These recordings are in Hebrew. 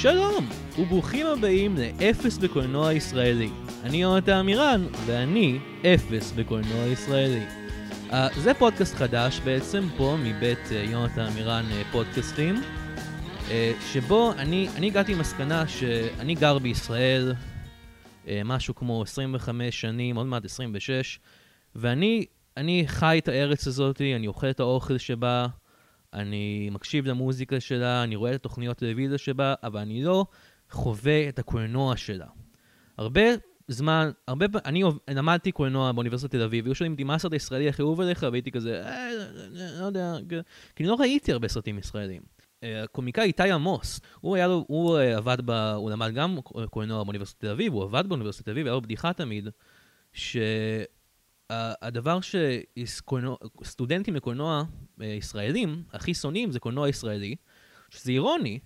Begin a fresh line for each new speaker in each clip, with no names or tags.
שלום, וברוכים הבאים לאפס בקולנוע ישראלי. אני יונתן עמירן, ואני אפס בקולנוע ישראלי. Uh, זה פודקאסט חדש בעצם, פה מבית uh, יונתן עמירן uh, פודקאסטים, uh, שבו אני, אני הגעתי למסקנה שאני גר בישראל uh, משהו כמו 25 שנים, עוד מעט 26, ואני אני חי את הארץ הזאת, אני אוכל את האוכל שבה, אני מקשיב למוזיקה שלה, אני רואה את התוכניות טלוויזיה שבה, אבל אני לא חווה את הקולנוע שלה. הרבה זמן, הרבה פעמים, אני עוב- למדתי קולנוע באוניברסיטת תל אביב, והיו שואלים אותי, מה הסרט הישראלי הכי אהוב עליך? והייתי כזה, אה, לא יודע, כ- כי לא ראיתי הרבה סרטים ישראלים. אה, הקומיקאי איתי עמוס, הוא היה לו, הוא אה, עבד ב... הוא למד גם קולנוע באוניברסיטת תל אביב, הוא עבד באוניברסיטת תל אביב, היה לו בדיחה תמיד, שהדבר שסטודנטים לקולנוע אה, ישראלים הכי שונאים זה קולנוע ישראלי, שזה אירוני,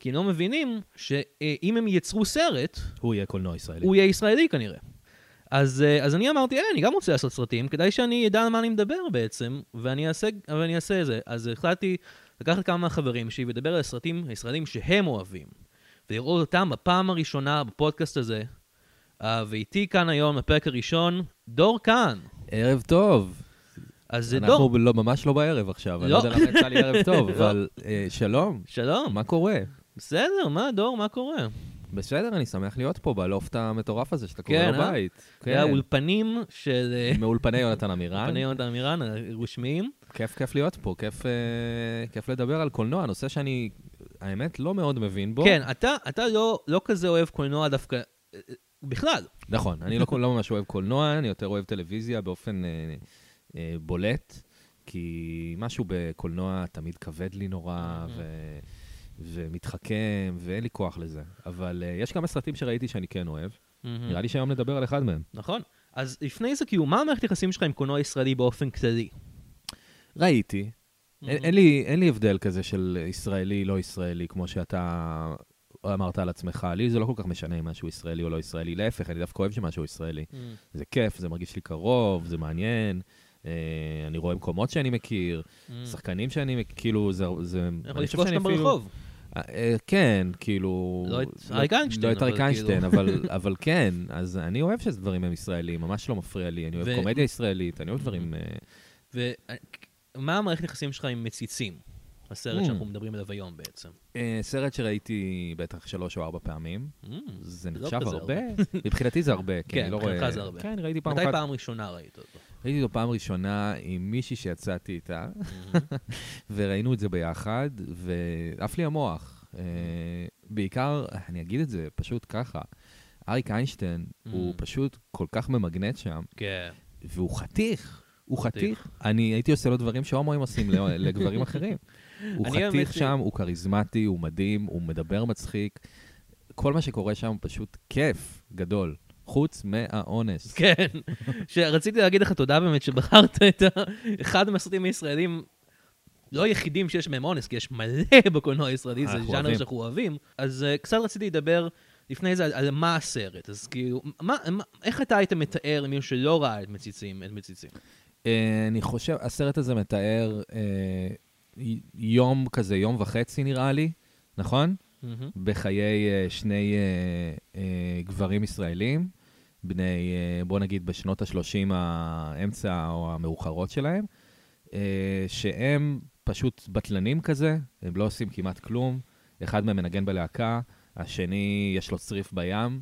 כי הם לא מבינים שאם הם יצרו סרט,
הוא יהיה קולנוע ישראלי.
הוא יהיה ישראלי כנראה. אז, אה, אז אני אמרתי, אה, אני גם רוצה לעשות סרטים, כדאי שאני אדע על מה אני מדבר בעצם, ואני אעשה, ואני אעשה את זה. אז החלטתי לקחת כמה מהחברים שלי ולדבר על הסרטים הישראלים שהם אוהבים, ולראות אותם בפעם הראשונה בפודקאסט הזה. אה, ואיתי כאן היום, בפרק הראשון, דור כאן.
ערב טוב.
אז זה דור.
אנחנו לא, ממש לא בערב עכשיו, אני לא
לא.
יודע למה יצא לי ערב טוב,
לא.
אבל אה, שלום,
שלום.
מה קורה?
בסדר, מה, דור, מה קורה?
בסדר, אני שמח להיות פה בלופט המטורף הזה שאתה
כן,
קורא לו
אה?
בית.
היה
כן,
אולפנים של... אה,
מאולפני יונתן עמירן.
אולפני יונתן אה, מירן, הרשמיים.
כיף, כיף להיות פה, כיף, אה, כיף לדבר על קולנוע, נושא שאני, האמת, לא מאוד מבין בו.
כן, אתה, אתה לא, לא כזה אוהב קולנוע דווקא, אה, אה, בכלל.
נכון, אני לא, לא ממש אוהב קולנוע, אני יותר אוהב טלוויזיה באופן אה, אה, בולט, כי משהו בקולנוע תמיד כבד לי נורא,
Mhm.
ו, ומתחכם, ואין לי כוח לזה. אבל אה, יש כמה סרטים שראיתי שאני כן אוהב, נראה לי שהיום נדבר על אחד מהם.
נכון. אז לפני זה, כאילו, מה המערכת היחסים שלך עם קולנוע ישראלי באופן כללי?
Mm. ראיתי. אין,
מהמם.
אין, לי, אין לי הבדל כזה של ישראלי, לא ישראלי, כמו שאתה אמרת על עצמך. לי זה לא כל כך משנה אם משהו ישראלי או לא ישראלי. להפך, אני דווקא אוהב שמשהו ישראלי. זה כיף, זה מרגיש לי קרוב, זה מעניין. אה, אני רואה מקומות שאני מכיר, שחקנים שאני מכיר, כאילו, זה... זה אני
Mm. יכול
חושב
לפגוש
שאני
אותם
אפילו-
ברחוב.
אה, אה, כן, כאילו...
לא את אריק איינשטיין,
לא את
אבל
אריק
כאילו.
איינשטיין, אבל- אבל כן. אז אני אוהב שדברים הם ישראלים, ממש לא מפריע לי. אני
ו- Mm.
אוהב קומדיה ישראלית, אני אוהב דברים... אה,
ומה המערכת היחסים שלך עם מציצים? הסרט
Mm.
שאנחנו מדברים עליו היום בעצם.
אה, סרט שראיתי בטח שלוש או ארבע פעמים,
Mm.
זה
לא
נחשב
כזה
הרבה. מבחינתי זה הרבה, כי
כן,
אני לא רואה...
מבחינתך זה הרבה.
כן, ראיתי פעם
מתי
אחת.
פעם ראשונה ראית אותו?
ראיתי אותו פעם ראשונה עם מישהי שיצאתי איתה. וראינו את זה ביחד, ועף לי המוח. אה, בעיקר, אני אגיד את זה פשוט ככה, אריק איינשטיין
Mm.
הוא פשוט כל כך ממגנט שם,
כן.
והוא חתיך, הוא
חתיך.
חתיך. אני הייתי עושה לו דברים שהומואים עושים ל- לגברים אחרים. הוא
אני האמת
חתיך
ש-
שם, הוא כריזמטי, הוא מדהים, הוא מדבר מצחיק. כל מה שקורה שם הוא פשוט כיף גדול, חוץ מהאונס.
כן, שרציתי להגיד לך תודה באמת שבחרת את ה- אחד מהסרטים הישראלים, לא היחידים שיש מהם אונס, כי יש מלא בקולנוע הישראלי, זה
אנחנו
ז'אנר
אוהבים.
שאנחנו אוהבים. אז אה, קצת רציתי לדבר לפני זה על, על מה הסרט, אז כאילו, מה, מה, איך אתה היית מתאר למישהו שלא ראה את מציצים, את מציצים?
אה, אני חושב, הסרט הזה מתאר אה, י- יום כזה, יום וחצי נראה לי, נכון? בחיי אה, שני אה, אה, גברים ישראלים, בני, אה, בוא נגיד, בשנות ה-30 האמצע או המאוחרות שלהם, אה, שהם פשוט בטלנים כזה, הם לא עושים כמעט כלום. אחד מהם מנגן בלהקה, השני יש לו צריף בים,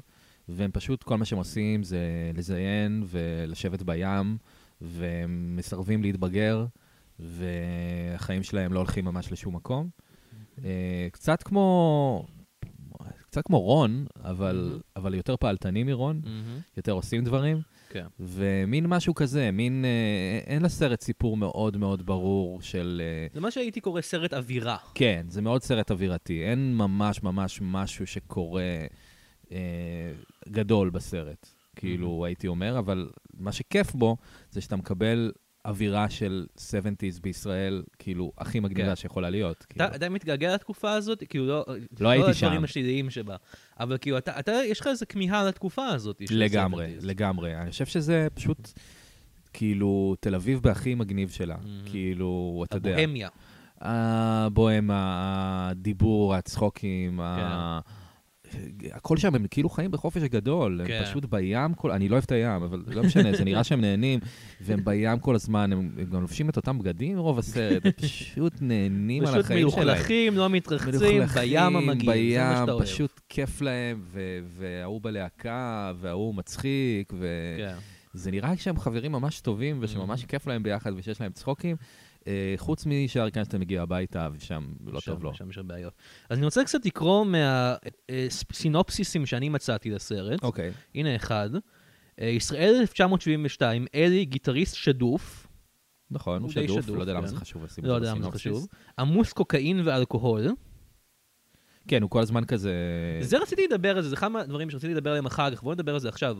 והם פשוט, כל מה שהם עושים זה לזיין ולשבת בים, והם מסרבים להתבגר, והחיים שלהם לא הולכים ממש לשום מקום. אה, קצת כמו... קצת כמו רון, אבל, אבל יותר פעלתני מרון, יותר עושים דברים.
כן.
ומין משהו כזה, מין... אה, אין לסרט סיפור מאוד מאוד ברור של... אה,
זה מה שהייתי קורא סרט אווירה.
כן, זה מאוד סרט אווירתי. אין ממש ממש משהו שקורה אה, גדול בסרט, כאילו, הייתי אומר, אבל מה שכיף בו זה שאתה מקבל אווירה של 70's בישראל, כאילו, הכי מגניבה
כן.
שיכולה להיות. כאילו.
אתה אתה מתגעגע לתקופה הזאת? כאילו, לא...
לא הייתי
לא
שם.
הדברים השליליים שבה. אבל כאילו, אתה, אתה- יש לך איזו כמיהה לתקופה הזאת. של
לגמרי,
70s.
לגמרי. אני חושב שזה פשוט, כאילו, תל אביב בהכי מגניב שלה.
Mhm.
כאילו, אתה יודע.
הבוהמיה.
הבוהם, הדיבור, הצחוקים, ה... הכל שם, הם כאילו חיים בחופש הגדול,
כן.
הם פשוט בים כל... אני לא אוהב את הים, אבל לא משנה, זה נראה שהם נהנים, והם בים כל הזמן, הם הם גם לובשים את אותם בגדים רוב הסרט, הם פשוט נהנים על
פשוט
החיים שלהם.
מלוכלכים, לא מתרחצים, בים המגעיל, זה מה שאתה
בים,
אוהב.
פשוט כיף להם, ו- וההוא בלהקה, וההוא מצחיק, וזה
כן. Mm-hmm.
נראה שהם חברים ממש טובים, ושממש כיף להם ביחד, ושיש להם צחוקים. אה, חוץ משאר שאתה מגיע הביתה, ושם לא
שם-
טוב לו.
שם יש הרבה בעיות. אז אני רוצה קצת לקרוא אה, מהסינופסיסים שאני מצאתי לסרט.
אוקיי.
הנה אחד. אה, ישראל 1972, אלי גיטריסט שדוף,
נכון, הוא
הוא די
שדוף,
שדוף,
לא יודע למה
כן.
זה חשוב לשים
לא
אותו
יודע למה זה
בסינופסיס.
חשוב, עמוס קוקאין ואלכוהול.
כן, הוא כל הזמן כזה...
זה רציתי לדבר על זה, זה אחד מהדברים שרציתי לדבר עליהם אחר כך, בואו נדבר על זה עכשיו.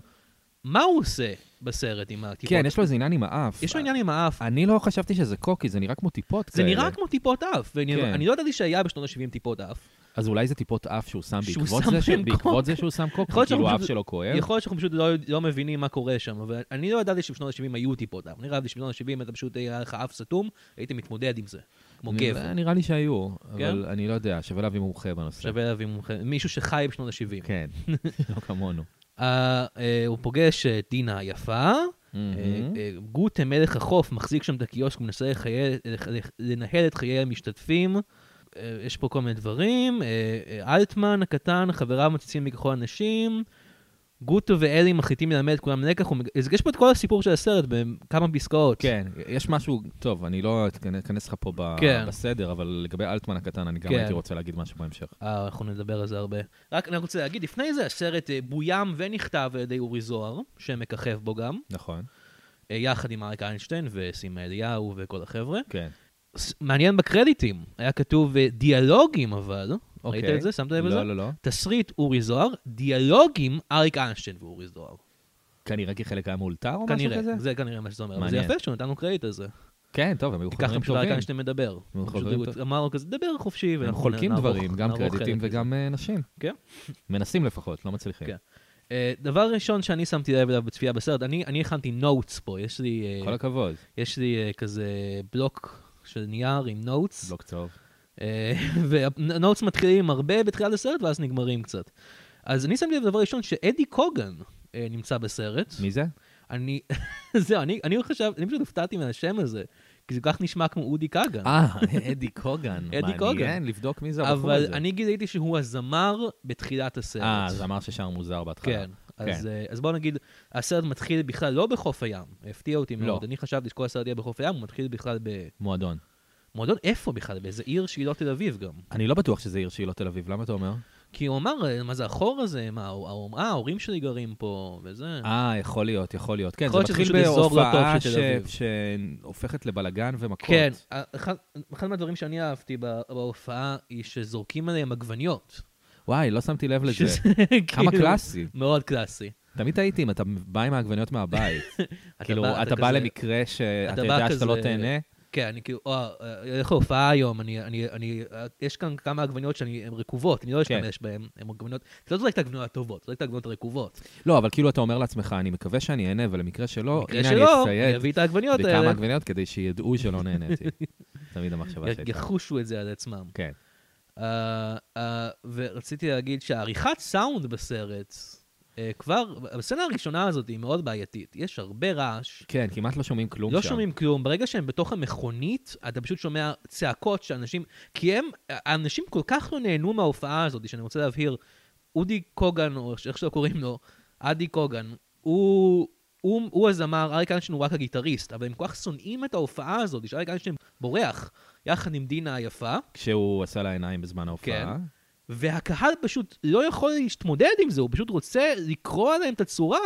מה הוא עושה בסרט עם הטיפות?
כן, יש לו איזה עניין עם האף.
יש לו עניין עם האף.
אני לא חשבתי שזה קוקי, זה נראה כמו טיפות
זה
כאלה.
נראה כמו טיפות אף, ואני
כן.
אני לא ידעתי שהיה בשנות ה-70 טיפות אף.
אז אולי זה טיפות אף שהוא שם
שהוא
בעקבות
שם
זה, ש-
להם קוק.
בעקבות זה שהוא שם קוקי,
יכול להיות
כאילו
שהוא
האף
פשוט-
שלו כואב.
יכול להיות שאנחנו פשוט לא, לא מבינים מה קורה שם, אבל אני לא ידעתי שבשנות ה-70 היו טיפות אף. אני חשבתי שבשנות ה-70 אתה פשוט היה לך אף סתום, היית מתמודד עם זה, כמו
נראה-
גבר.
אה, נראה לי שהיו, אבל אני לא יודע, שווה להביא מומחה בנושא.
כן? שווה להביא מומחה- מישהו שחי בשנות ה-70.
כן, לא כמונו.
אה, הוא פוגש את דינה היפה, אה, אה, גוטה מלך החוף מחזיק שם את הקיוסק, מנסה לחיי- לח- לח- לנהל את חיי המשתתפים. אה, יש פה כל מיני דברים. אה, אה, אלטמן הקטן, חבריו מציצים מככל הנשים. גוטו ואלי מחליטים ללמד את כולם לקח. ומג- אז יש פה את כל הסיפור של הסרט בכמה פסקאות.
כן, יש משהו, טוב, אני לא אתכנס- אכנס לך פה ב-
כן.
בסדר, אבל לגבי אלטמן הקטן, אני גם
כן.
הייתי רוצה להגיד משהו בהמשך.
אה, אנחנו נדבר על זה הרבה. רק אני רוצה להגיד, לפני זה הסרט אה, בוים ונכתב על ידי אורי זוהר, שמככב בו גם,
נכון,
אה, יחד עם אריק איינשטיין וסימה אליהו וכל החבר'ה.
כן.
ס- מעניין בקרדיטים, היה כתוב אה, דיאלוגים אבל,
אוקיי.
ראית את זה? שמת לב לזה?
לא, לא, לא.
תסריט אורי זוהר, דיאלוגים אריק איינשטיין ואורי זוהר.
כנראה כי חלק היה מאולתר או משהו
כנראה,
כזה?
זה כנראה מה שזה אומר. אבל זה
מעניין.
יפה שנתנו קרדיט על זה.
כן, טוב, הם היו
כי ככה
חברים
פשוט אריק
טובים.
איינשטיין מדבר.
הם
הוא פשוט
חברים
הוא
טוב.
אמר לו כזה, דבר חופשי,
הם
ואנחנו
חולקים
נערוך-
דברים, גם
נערוך
קרדיטים
חלק מזה.
וגם אה, נשים.
כן.
מנסים לפחות, לא מצליחים.
כן. אה, דבר ראשון שאני שמתי לב אליו בצפייה בסרט, אני אני הכנתי נוטס פה, יש לי, אה,
כל הכבוד.
יש לי אה, כזה בלוק של נייר עם נוטס.
בלוק צהוב.
אה, והנוטס מתחילים הרבה בתחילת הסרט ואז נגמרים קצת. אז אני שמתי לב דבר ראשון שאדי קוגן אה, נמצא בסרט.
מי זה?
אני, זהו, אני, אני חשב, אני פשוט הופתעתי מהשם הזה, כי זה כל כך נשמע כמו אודי קאגן.
אה, אדי קוגן.
כן. אדי קוגן.
מעניין לבדוק מי זה הבחור הזה.
אבל אני גיליתי שהוא הזמר בתחילת הסרט.
אה, אז אמר ששם מוזר בהתחלה.
כן. אז, אה, אז בואו נגיד, הסרט מתחיל בכלל לא בחוף הים, הפתיע אותי
לא.
מאוד. אני חשבתי שכל הסרט יהיה בחוף הים, הוא מתחיל בכלל
מועדון.
במועדון איפה בכלל? באיזה עיר שהיא לא תל אביב גם.
אני לא בטוח שזה עיר שהיא לא תל אביב, למה אתה אומר?
כי הוא אמר, "אה, מה זה החור הזה? מה, ההוא- ההוא- אה, ההורים שלי גרים פה, וזה.
אה, יכול להיות, יכול להיות. כן,
יכול
זה
להיות שזה
מתחיל
פשוט אזור לא טוב
בהופעה
של תל אביב.
ש- שהופכת לבלגן ומכות.
כן, אה, אחד אחד מהדברים שאני אהבתי בה- בהופעה, היא שזורקים עליהם עגבניות.
וואי, לא שמתי לב לזה.
שזה
כמה
כאילו
קלאסי.
מאוד קלאסי.
תמיד טעיתי אם אתה בא עם העגבניות מהבית. כאילו,
בא-
אתה בא
כזה-
למקרה שאתה
אתה בא
יודע שאתה לא
כזה-
תהנה.
כן, אני כאילו, אה, אה, הולך להופעה היום, אני, אני, אני, אה, יש כאן כמה עגבניות שהן רקובות, אני לא
כן.
אשתמש בהן, הן עגבניות, אתה לא זורק את העגבניות הטובות, זורק את העגבניות הרקובות.
לא, אבל כאילו אתה אומר לעצמך, אני מקווה שאני אהנה, אבל למקרה שלא,
במקרה
הנה אני
שלא, אני
אצטייד
אביא את העגבניות
בכמה
האלה,
עגבניות כדי שידעו שלא נהניתי. תמיד המחשבה
י-
שהייתה.
יחושו את זה על עצמם.
כן.
אה, אה, ורציתי להגיד שהעריכת סאונד בסרט, אה, כבר, הסצנה הראשונה הזאת היא מאוד בעייתית, יש הרבה רעש.
כן, כמעט לא שומעים כלום שם.
לא שומעים כלום, ברגע שהם בתוך המכונית, אתה פשוט שומע צעקות של אנשים, כי הם, האנשים כל כך לא נהנו מההופעה הזאת, שאני רוצה להבהיר, אודי קוגן, או איך שלא קוראים לו, אדי קוגן, הוא, הוא, הוא הזמר, אריק איינשטיין הוא רק הגיטריסט, אבל הם כל כך שונאים את ההופעה הזאת, שאריק איינשטיין בורח, יחד עם דינה היפה,
כשהוא עשה לה עיניים בזמן
כן.
ההופעה.
והקהל פשוט לא יכול להתמודד עם זה, הוא פשוט רוצה לקרוע להם את הצורה,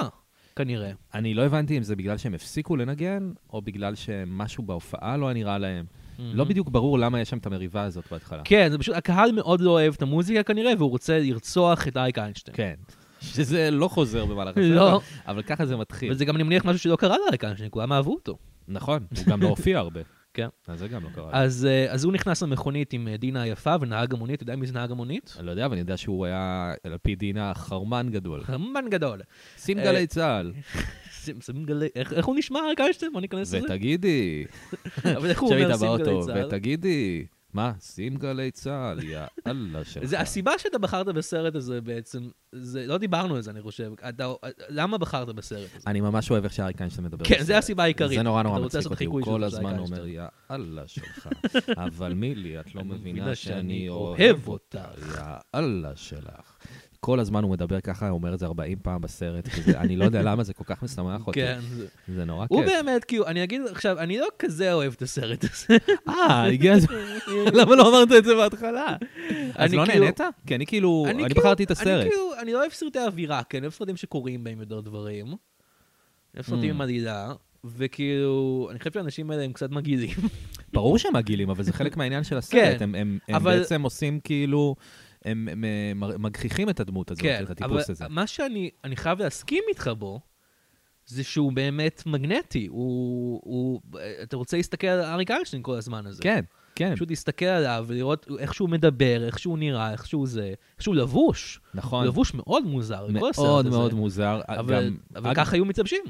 כנראה.
אני לא הבנתי אם זה בגלל שהם הפסיקו לנגן, או בגלל שמשהו בהופעה לא היה נראה להם. לא בדיוק ברור למה יש שם את המריבה הזאת בהתחלה.
Mm-hmm. כן, זה פשוט, הקהל מאוד לא אוהב את המוזיקה כנראה, והוא רוצה לרצוח את אריק איינשטיין.
כן. שזה לא חוזר במהלך
לא.
הסרט, אבל ככה זה מתחיל.
וזה גם, אני מניח, משהו שלא קרה לאריק איינשטיין, כולם אהבו אותו.
נכון, הוא גם לא הופיע הרבה.
כן.
אז זה גם לא קרה. לי.
אז, אה, אז הוא נכנס למכונית עם אה, דינה היפה ונהג המונית, אתה יודע מי זה נהג המונית?
אני לא יודע, אבל אני יודע שהוא היה, על פי דינה, חרמן גדול.
חרמן גדול.
שים
אה,
גלי צה"ל,
שים- שים גלי- איך איך הוא נשמע, אריק איינשטיין? בוא ניכנס לזה.
ותגידי,
אבל איך הוא
שב
אומר
איתה
שים גלי
באוטו,
צה"ל?
ותגידי, מה, שים גלי צה"ל, יא אללה שלך.
זה הסיבה שאתה בחרת בסרט הזה בעצם, זה, לא דיברנו על זה, אני חושב. אתה, למה בחרת בסרט הזה?
אני ממש אוהב איך שאריק איינשטיין מדבר.
כן,
בסרט.
זה הסיבה העיקרית.
זה נורא
אתה
נורא
רוצה
מצחיק
לעשות
אותי, הוא
חיקוי של
כל
אריק
הזמן
איינשטיין.
אומר, יא אללה שלך. אבל מילי, את לא
אני
מבינה
מבינה
שאני
שאני
אוהב
אוהב
אותך,
אותך.
יא אללה שלך. כל הזמן הוא מדבר ככה, הוא אומר את זה 40 פעם בסרט, כי זה- אני לא יודע למה זה כל כך משמח אותי.
כן, זה...
זה נורא
הוא
כיף.
באמת, כאילו, אני אגיד עכשיו, אני לא כזה אוהב את הסרט הזה.
אה, הגיע הזמן. למה לא אמרת את זה בהתחלה? אז
אני
לא
כאילו-
נהנית? כי אני כאילו, אני
כאילו-
בחרתי את
אני
הסרט.
כאילו, אני לא אוהב סרטי אווירה, כי אני אוהב סרטים שקוראים בהם יותר דברים. אני אוהב סרטים
Mm.
עם עלילה, וכאילו, אני חושב שהאנשים האלה הם קצת מגעילים.
ברור שהם מגעילים, אבל זה חלק מהעניין של
כן,
הסרט. הם- הם הם
אבל-
בעצם עושים כאילו, הם הם, אה, מר- מגחיכים את הדמות הזאת,
כן,
את
אבל
הטיפוס הזה.
מה שאני אני חייב להסכים איתך בו, זה שהוא באמת מגנטי. הוא, הוא, אתה רוצה להסתכל על אריק איינשטיין כל הזמן הזה.
כן, כן,
פשוט להסתכל עליו ולראות איך שהוא מדבר, איך שהוא נראה, איך שהוא זה, איך שהוא לבוש. הוא
נכון.
לבוש מאוד מוזר, לא כל הסרט
מאוד
הזה.
מאוד מוזר.
אבל,
גם-
אבל
אגב,
ככה היו מתלבשים.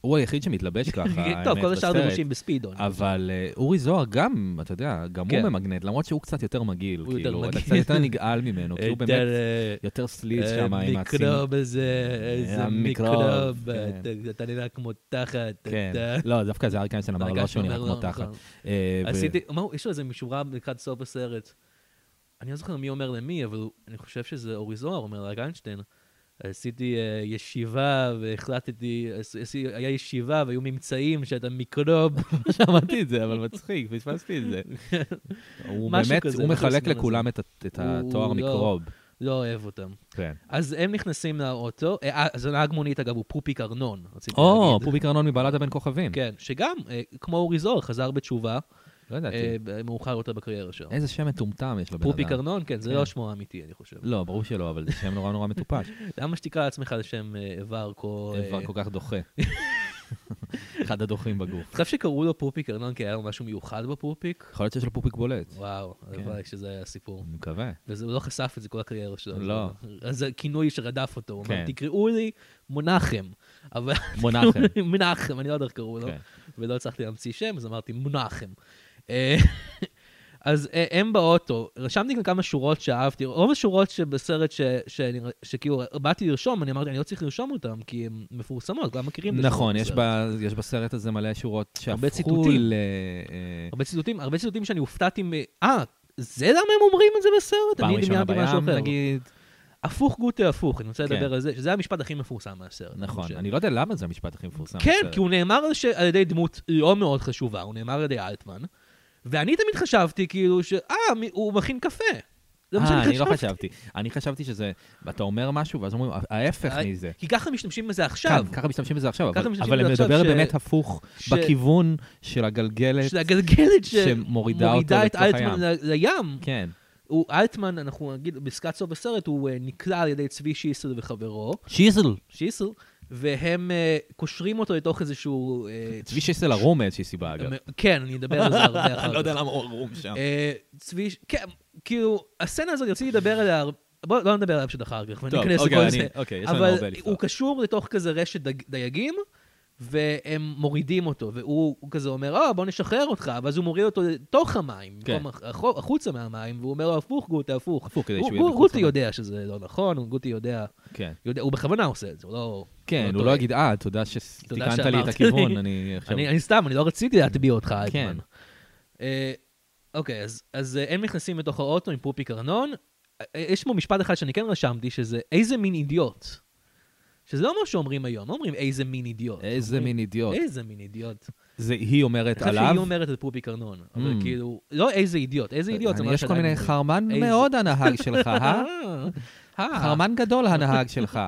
הוא היחיד שמתלבש ככה, האמת,
טוב, כל השאר
בסרט.
דרושים בספידון.
אבל אה, אורי זוהר גם, אתה יודע, גם הוא
כן.
ממגנט, למרות שהוא קצת יותר מגעיל,
הוא יותר
כאילו, אתה
מגעיל.
קצת יותר נגעל ממנו, כי הוא
יותר,
כאילו באמת
אה,
יותר סליץ
אה,
שם עם הצינור.
מיקרוב הזה, איזה
המיקרוב,
מיקרוב,
כן.
אתה- אתה נראה כמו תחת.
כן,
אתה-
לא, דווקא זה אריק איינשטיין אמר
והרגשתי
לא שהוא נראה
אומר,
כמו
לא,
תחת.
נכון.
אה, ו-
עשיתי, מה הוא- יש לו איזה משורה לקראת סוף הסרט. אני לא זוכר מי אומר למי, אבל הוא- אני חושב שזה אורי זוהר אומר רק איינשטיין. עשיתי אה, ישיבה והחלטתי, עש- עשי- היה ישיבה והיו ממצאים שאתה מיקרוב.
שמעתי את זה, אבל מצחיק, פספסתי את זה. הוא
משהו
באמת,
כזה,
הוא
משהו
מחלק
בסגנון הזה.
לכולם את ה- את
הוא
התואר
לא-
מיקרוב.
לא אוהב אותם.
כן.
אז הם נכנסים לאוטו, אה, אה, אז הנהג מונית אגב הוא פופיק ארנון, רציתי
או,
להגיד.
פוביק ארנון מבלדה בין כוכבים.
כן, שגם, אה, כמו אורי זוהר, חזר בתשובה
לא ידעתי.
אה, ב- מאוחר יותר בקריירה שלו.
איזה שם מטומטם יש לבן
פופיק
אדם.
ארנון, כן, זה
כן.
לא שמו האמיתי, אני חושב.
לא, ברור שלא, אבל זה שם נורא נורא מטופש.
למה שתקרא לעצמך לשם אה, איבר כה... אה,
איבר כל כך דוחה. אחד הדוחים בגוף.
אתה חושב שקראו לו פופיק ארנון כי היה לו משהו מיוחד בפופיק?
יכול להיות שיש לו פופיק בולט.
וואו,
כן.
הלוואי שזה היה הסיפור.
אני מקווה.
וזה, הוא לא חשף את זה כל הקריירה שלו.
לא.
אז זה כינוי שרדף אותו. הוא אמר,
כן.
תקראו לי מונחם. אבל...
מונחם.
מנחם, אני לא יודע איך קראו לו.
כן.
ולא הצלחתי להמציא שם, אז אמרתי מונחם. אה, אז אה, הם באוטו, רשמתי גם כמה שורות שאהבתי, רוב השורות שבסרט ש- שאני- שכאילו באתי לרשום, אני אמרתי, אני לא צריך לרשום אותן, כי הן מפורסמות, כולם מכירים את השורות
נכון, יש
בסרט.
ב- יש בסרט הזה מלא שורות
הרבה
שהפכו
ציטוטים.
ל... אה,
הרבה ציטוטים, הרבה ציטוטים שאני הופתעתי מ... אה, זה למה הם אומרים את זה בסרט?
פעם
אני
ראשונה
דמיינתי משהו
בים,
אחר.
נגיד.
הפוך גוטה הפוך, אני רוצה
כן.
לדבר על זה, שזה המשפט הכי מפורסם מהסרט. אני
נכון,
חושב.
אני לא יודע למה זה המשפט הכי מפורסם.
כן,
בסרט.
כי הוא נאמר על ש- על ידי דמות לא מאוד חשובה, הוא נאמר על ידי אלטמן, ואני תמיד חשבתי כאילו ש... אה, מי- הוא מכין קפה. זה מה
אה,
שאני
אני לא
חשבתי.
חשבתי. אני חשבתי שזה, אתה אומר משהו, ואז אומרים, ההפך
אה,
מזה.
כי ככה משתמשים בזה עכשיו.
כאן, כן, ככה משתמשים בזה עכשיו,
ככה
אבל-
משתמשים
אבל
בזה
אני
עכשיו
מדבר
ש-
באמת הפוך
ש-
בכיוון של הגלגלת.
של הגלגלת ש-
שמורידה אותו
מורידה את
לתוך
אלטמן
הים.
ל- לים.
כן,
הוא אלטמן, אנחנו נגיד, בעסקת סוף הסרט, הוא אה, נקלע על ידי צבי שיסל וחברו.
שיזל.
שיסל, והם אה, קושרים אותו לתוך איזשהו... אה,
צבי שיסל ערום מאיזושהי סיבה, אגב.
כן, אני אדבר על זה הרבה אחר כך.
לא למה הוא ערום שם.
אה, צבי, כן, כאילו, הסצנה הזאת, רציתי לדבר עליה, הר- בוא לא נדבר עליה פשוט אחר כך,
טוב,
וניכנס
אוקיי,
לכל
אני-
זה.
אוקיי, יש לנו
אבל
הרבה לפתוח.
הוא קשור לתוך כזה רשת דג- דייגים, והם מורידים אותו, והוא הוא כזה אומר, אה, בוא נשחרר אותך, ואז הוא מוריד אותו לתוך המים,
כן.
במקום הח- החו- החוצה מהמים, והוא אומר לו, הפוך, גוטה, הפוך.
הפוך, כדי
הוא-
שהוא יהיה
הוא-
בחוץ
גוטה
מהמים.
יודע שזה לא נכון, הוא- גוטה יודע,
כן.
יודע- הוא בכוונה עושה את זה, הוא לא...
כן, הוא
טועה.
לא יגיד, אה, תודה שתיקנת לי את
שאמרת
הכיוון,
לי."
אני עכשיו...
אני, אני סתם, אני לא רציתי להטביע אותך,
כן.
אלטמן. אה, אוקיי, אז, אז אה, הם נכנסים לתוך האוטו עם פופיק ארנון. אה, אה, יש פה משפט אחד שאני כן רשמתי, שזה איזה מין אידיוט. שזה לא מה שאומרים היום, לא אומרים איזה מין אידיוט.
איזה
אומרים,
מין אידיוט.
איזה מין אידיוט.
זה היא אומרת
אני חושב שהיא
עליו.
אומרת את פופיק ארנון, אבל
Mm.
כאילו, לא איזה אידיוט, איזה אידיוט זה
אה, אני-
מה
יש כל
שעדיין
מיני
אומרים.
חרמן
איזה-
מאוד הנהג שלך, אה?
אה,
חרמן גדול הנהג שלך.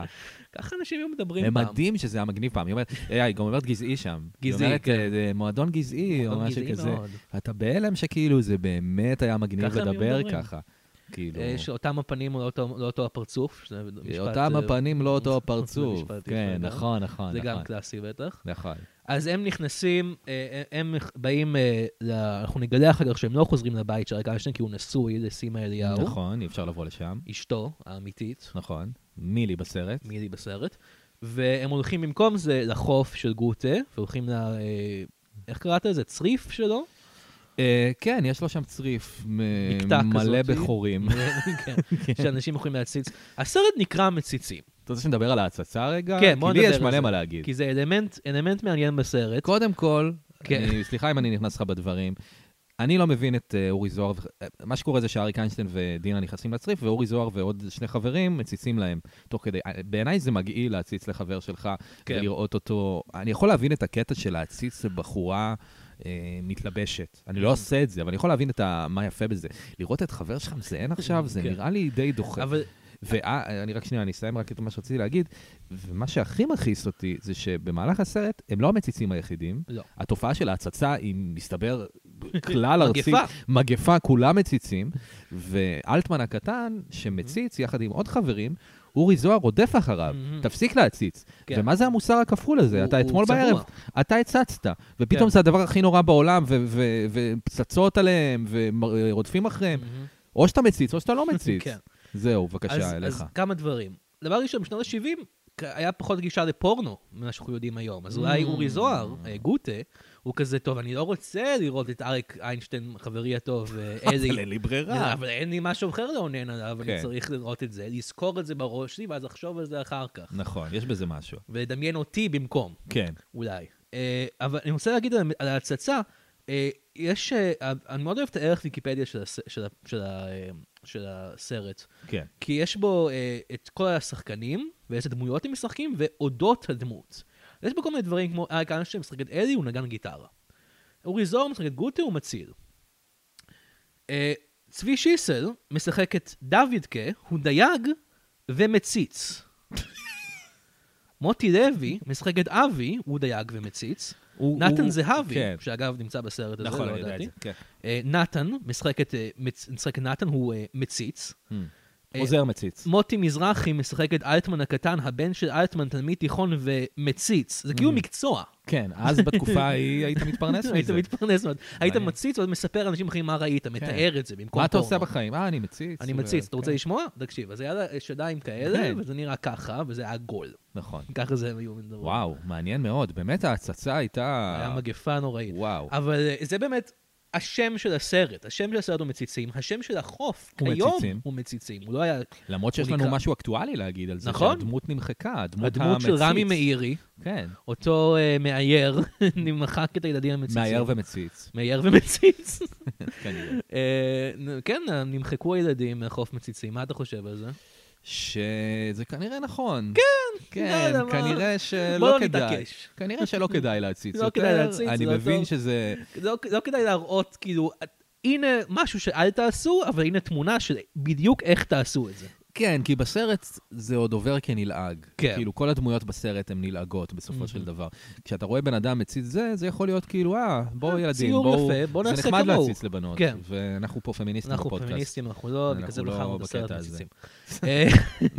ככה אנשים היו מדברים כן, פעם.
מדהים שזה היה מגניב פעם. היא אומרת, אה, היא גם אומרת גזעי שם.
גזעי, כן.
היא אומרת, אה, זה מועדון גזעי או
מועדון
משהו
גזעי
כזה.
מאוד.
אתה בהלם שכאילו זה באמת היה מגניב
ככה הם
לדבר
מדברים.
ככה. כאילו,
אה, יש אותם הפנים, לא אותו- לא אותו הפרצוף. שזה משפט,
אותם
אה,
הפנים לא אותו הפרצוף.
משפט
כן,
יפה, לא?
נכון, נכון,
זה גם
נכון.
קלאסי בטח.
נכון.
אז הם נכנסים, אה, הם באים, אה, ל- אנחנו נגלה אחר כך שהם לא חוזרים לבית של אריק איינשטיין, כי הוא נשוי לסימה אליהו,
נכון, אי אפשר לבוא לשם.
אשתו האמיתית,
נכון. מילי בסרט.
מילי בסרט, והם הולכים במקום זה לחוף של גוטה, והולכים ל... אה, איך קראת לזה? צריף שלו?
אה, כן, יש לו שם צריף מ-
מקטע
אה, מלא
כזאתי.
בחורים.
כן, שאנשים יכולים להציץ. הסרט נקרא מציצים,
אתה רוצה שנדבר על ההצצה רגע?
כן, בוא נדבר
כי לי יש
על זה.
מלא מה להגיד.
כי זה אלמנט, אלמנט מעניין בסרט.
קודם כל,
כן.
אני- סליחה אם אני נכנס לך בדברים, אני לא מבין את אה, אורי זוהר, ו- אה, מה שקורה זה שאריק איינשטיין ודינה נכנסים לצריף, ואורי זוהר ועוד שני חברים מציצים להם תוך כדי. אה, בעיניי זה מגעיל להציץ לחבר שלך
כן.
ולראות אותו. אני יכול להבין את הקטע של להציץ לבחורה. אה, מתלבשת. אני לא עושה את זה, אבל אני יכול להבין את ה... מה יפה בזה. לראות את חבר שלך מזיין עכשיו, זה
כן.
נראה לי די דוחה.
אבל
ואני רק שנייה, אני אסיים רק את מה שרציתי להגיד. ומה שהכי מכעיס אותי זה שבמהלך הסרט הם לא המציצים היחידים.
לא.
התופעה של ההצצה היא, מסתבר, כלל ארצית.
מגפה.
מגפה, כולם מציצים. ואלטמן הקטן, שמציץ יחד עם עוד חברים, אורי זוהר רודף אחריו.
Mhm.
תפסיק להציץ.
כן.
ומה זה המוסר הכפול הזה?
הוא-
אתה
הוא
אתמול
צבוע.
בערב, אתה הצצת, ופתאום
כן.
זה הדבר הכי נורא בעולם, ו- ו- ופצצות עליהם, ורודפים אחריהם.
מהמם.
או שאתה מציץ, או שאתה לא מציץ.
כן.
זהו,
אז-
בבקשה, אליך.
אז כמה דברים. דבר ראשון, בשנות ה-70 היה פחות גישה לפורנו ממה שאנחנו יודעים היום. אז אולי
Mm.
אורי זוהר, אה, גוטה, הוא כזה, טוב, אני לא רוצה לראות את אריק איינשטיין, חברי הטוב, אה, אלי.
אבל אין לי ברירה.
אבל אין לי משהו אחר לאונן עליו, אני
כן.
צריך לראות את זה, לזכור את זה בראש שלי, ואז לחשוב על זה אחר כך.
נכון, יש בזה משהו.
ולדמיין אותי במקום.
כן.
אולי. אה, אבל אני רוצה להגיד על על ההצצה, אה, יש, אה, אני מאוד אוהב את הערך ויקיפדיה של הס- של ה- של ה- אה, של הסרט,
כן.
כי יש בו אה, את כל השחקנים, ואיזה דמויות הם משחקים, ואודות הדמות. יש בו כל מיני דברים כמו אה, אריק איינשטיין משחק את אלי, הוא נגן גיטרה. אורי זוהר משחק את גוטה, הוא מציל. אה, צבי שיסל משחק את דוידקה, הוא דייג ומציץ. מוטי לוי משחק את אבי, הוא דייג ומציץ.
הוא-
נתן
הוא-
זהבי,
כן.
שאגב נמצא בסרט הזה,
נכון,
לא
אני יודע את
ידעתי.
זה. כן.
אה, נתן משחק את אה, מצ- משחק את נתן, הוא אה, מציץ. אה,
עוזר מציץ.
מוטי מזרחי משחק את אלטמן הקטן, הבן של אלטמן, תלמיד תיכון ומציץ. זה כאילו מקצוע.
כן, אז בתקופה ההיא היית Mm. מתפרנס
היית
מזה.
מתפרנס, מאוד. היית
מעניין. כן.
מציץ ואז מספר לאנשים אחרים מה ראית, מתאר את זה במקום פורנו.
מה אתה עושה בחיים? אה, אני מציץ.
אני
ו-
מציץ, אתה רוצה
כן.
לשמוע? תקשיב, אז היה לה שדיים
כן.
כאלה, וזה נראה ככה, וזה היה גול.
נכון.
ככה זה הם היו מדברים.
וואו, מעניין מאוד. באמת ההצצה הייתה...
היה מגפה נוראית.
וואו.
אבל אה, זה באמת השם של הסרט. השם של הסרט הוא מציצים, השם של החוף
הוא
כיום
מציצים.
הוא מציצים. הוא לא היה...
למרות שיש
הוא
לנו
נקרא-
משהו אקטואלי להגיד על זה,
נכון.
שהדמות נמחקה, הדמות המציץ.
הדמות של רמי מאירי,
כן,
אותו אה, מאייר, מחק את הילדים המציצים.
מאייר ומציץ.
מאייר ומציץ.
כנראה.
אה, נ- כן, נמחקו הילדים מהחוף מציצים, מה אתה חושב על זה?
אה, שזה כנראה נכון. כן,
לא
כן,
יודע מה.
כנראה שלא
בוא לא
כדאי.
נתעקש.
כנראה שלא כדאי להציץ
לא
יותר.
כדאי להציץ,
אני
זה לא
מבין
טוב.
שזה...
לא, לא כדאי להראות, כאילו, את- הנה משהו שאל תעשו, אבל הנה תמונה של בדיוק איך תעשו את זה.
כן, כי בסרט זה עוד עובר כנלעג.
כן.
כאילו, כל הדמויות בסרט הן נלעגות בסופו של דבר. כשאתה רואה בן אדם מציץ זה, זה יכול להיות כאילו, אה, בואו ילדים,
ציור
בואו...
יפה, בוא נעשה
זה נחמד
כמוהו.
להציץ לבנות.
כן.
ואנחנו פה פמיניסטים
אנחנו
בפודקאסט.
פמיניסטים, אנחנו לא,
אנחנו
בגלל זה
לא
בחרנו את
בקטע
הסרט
הזה.
מציצים. אה,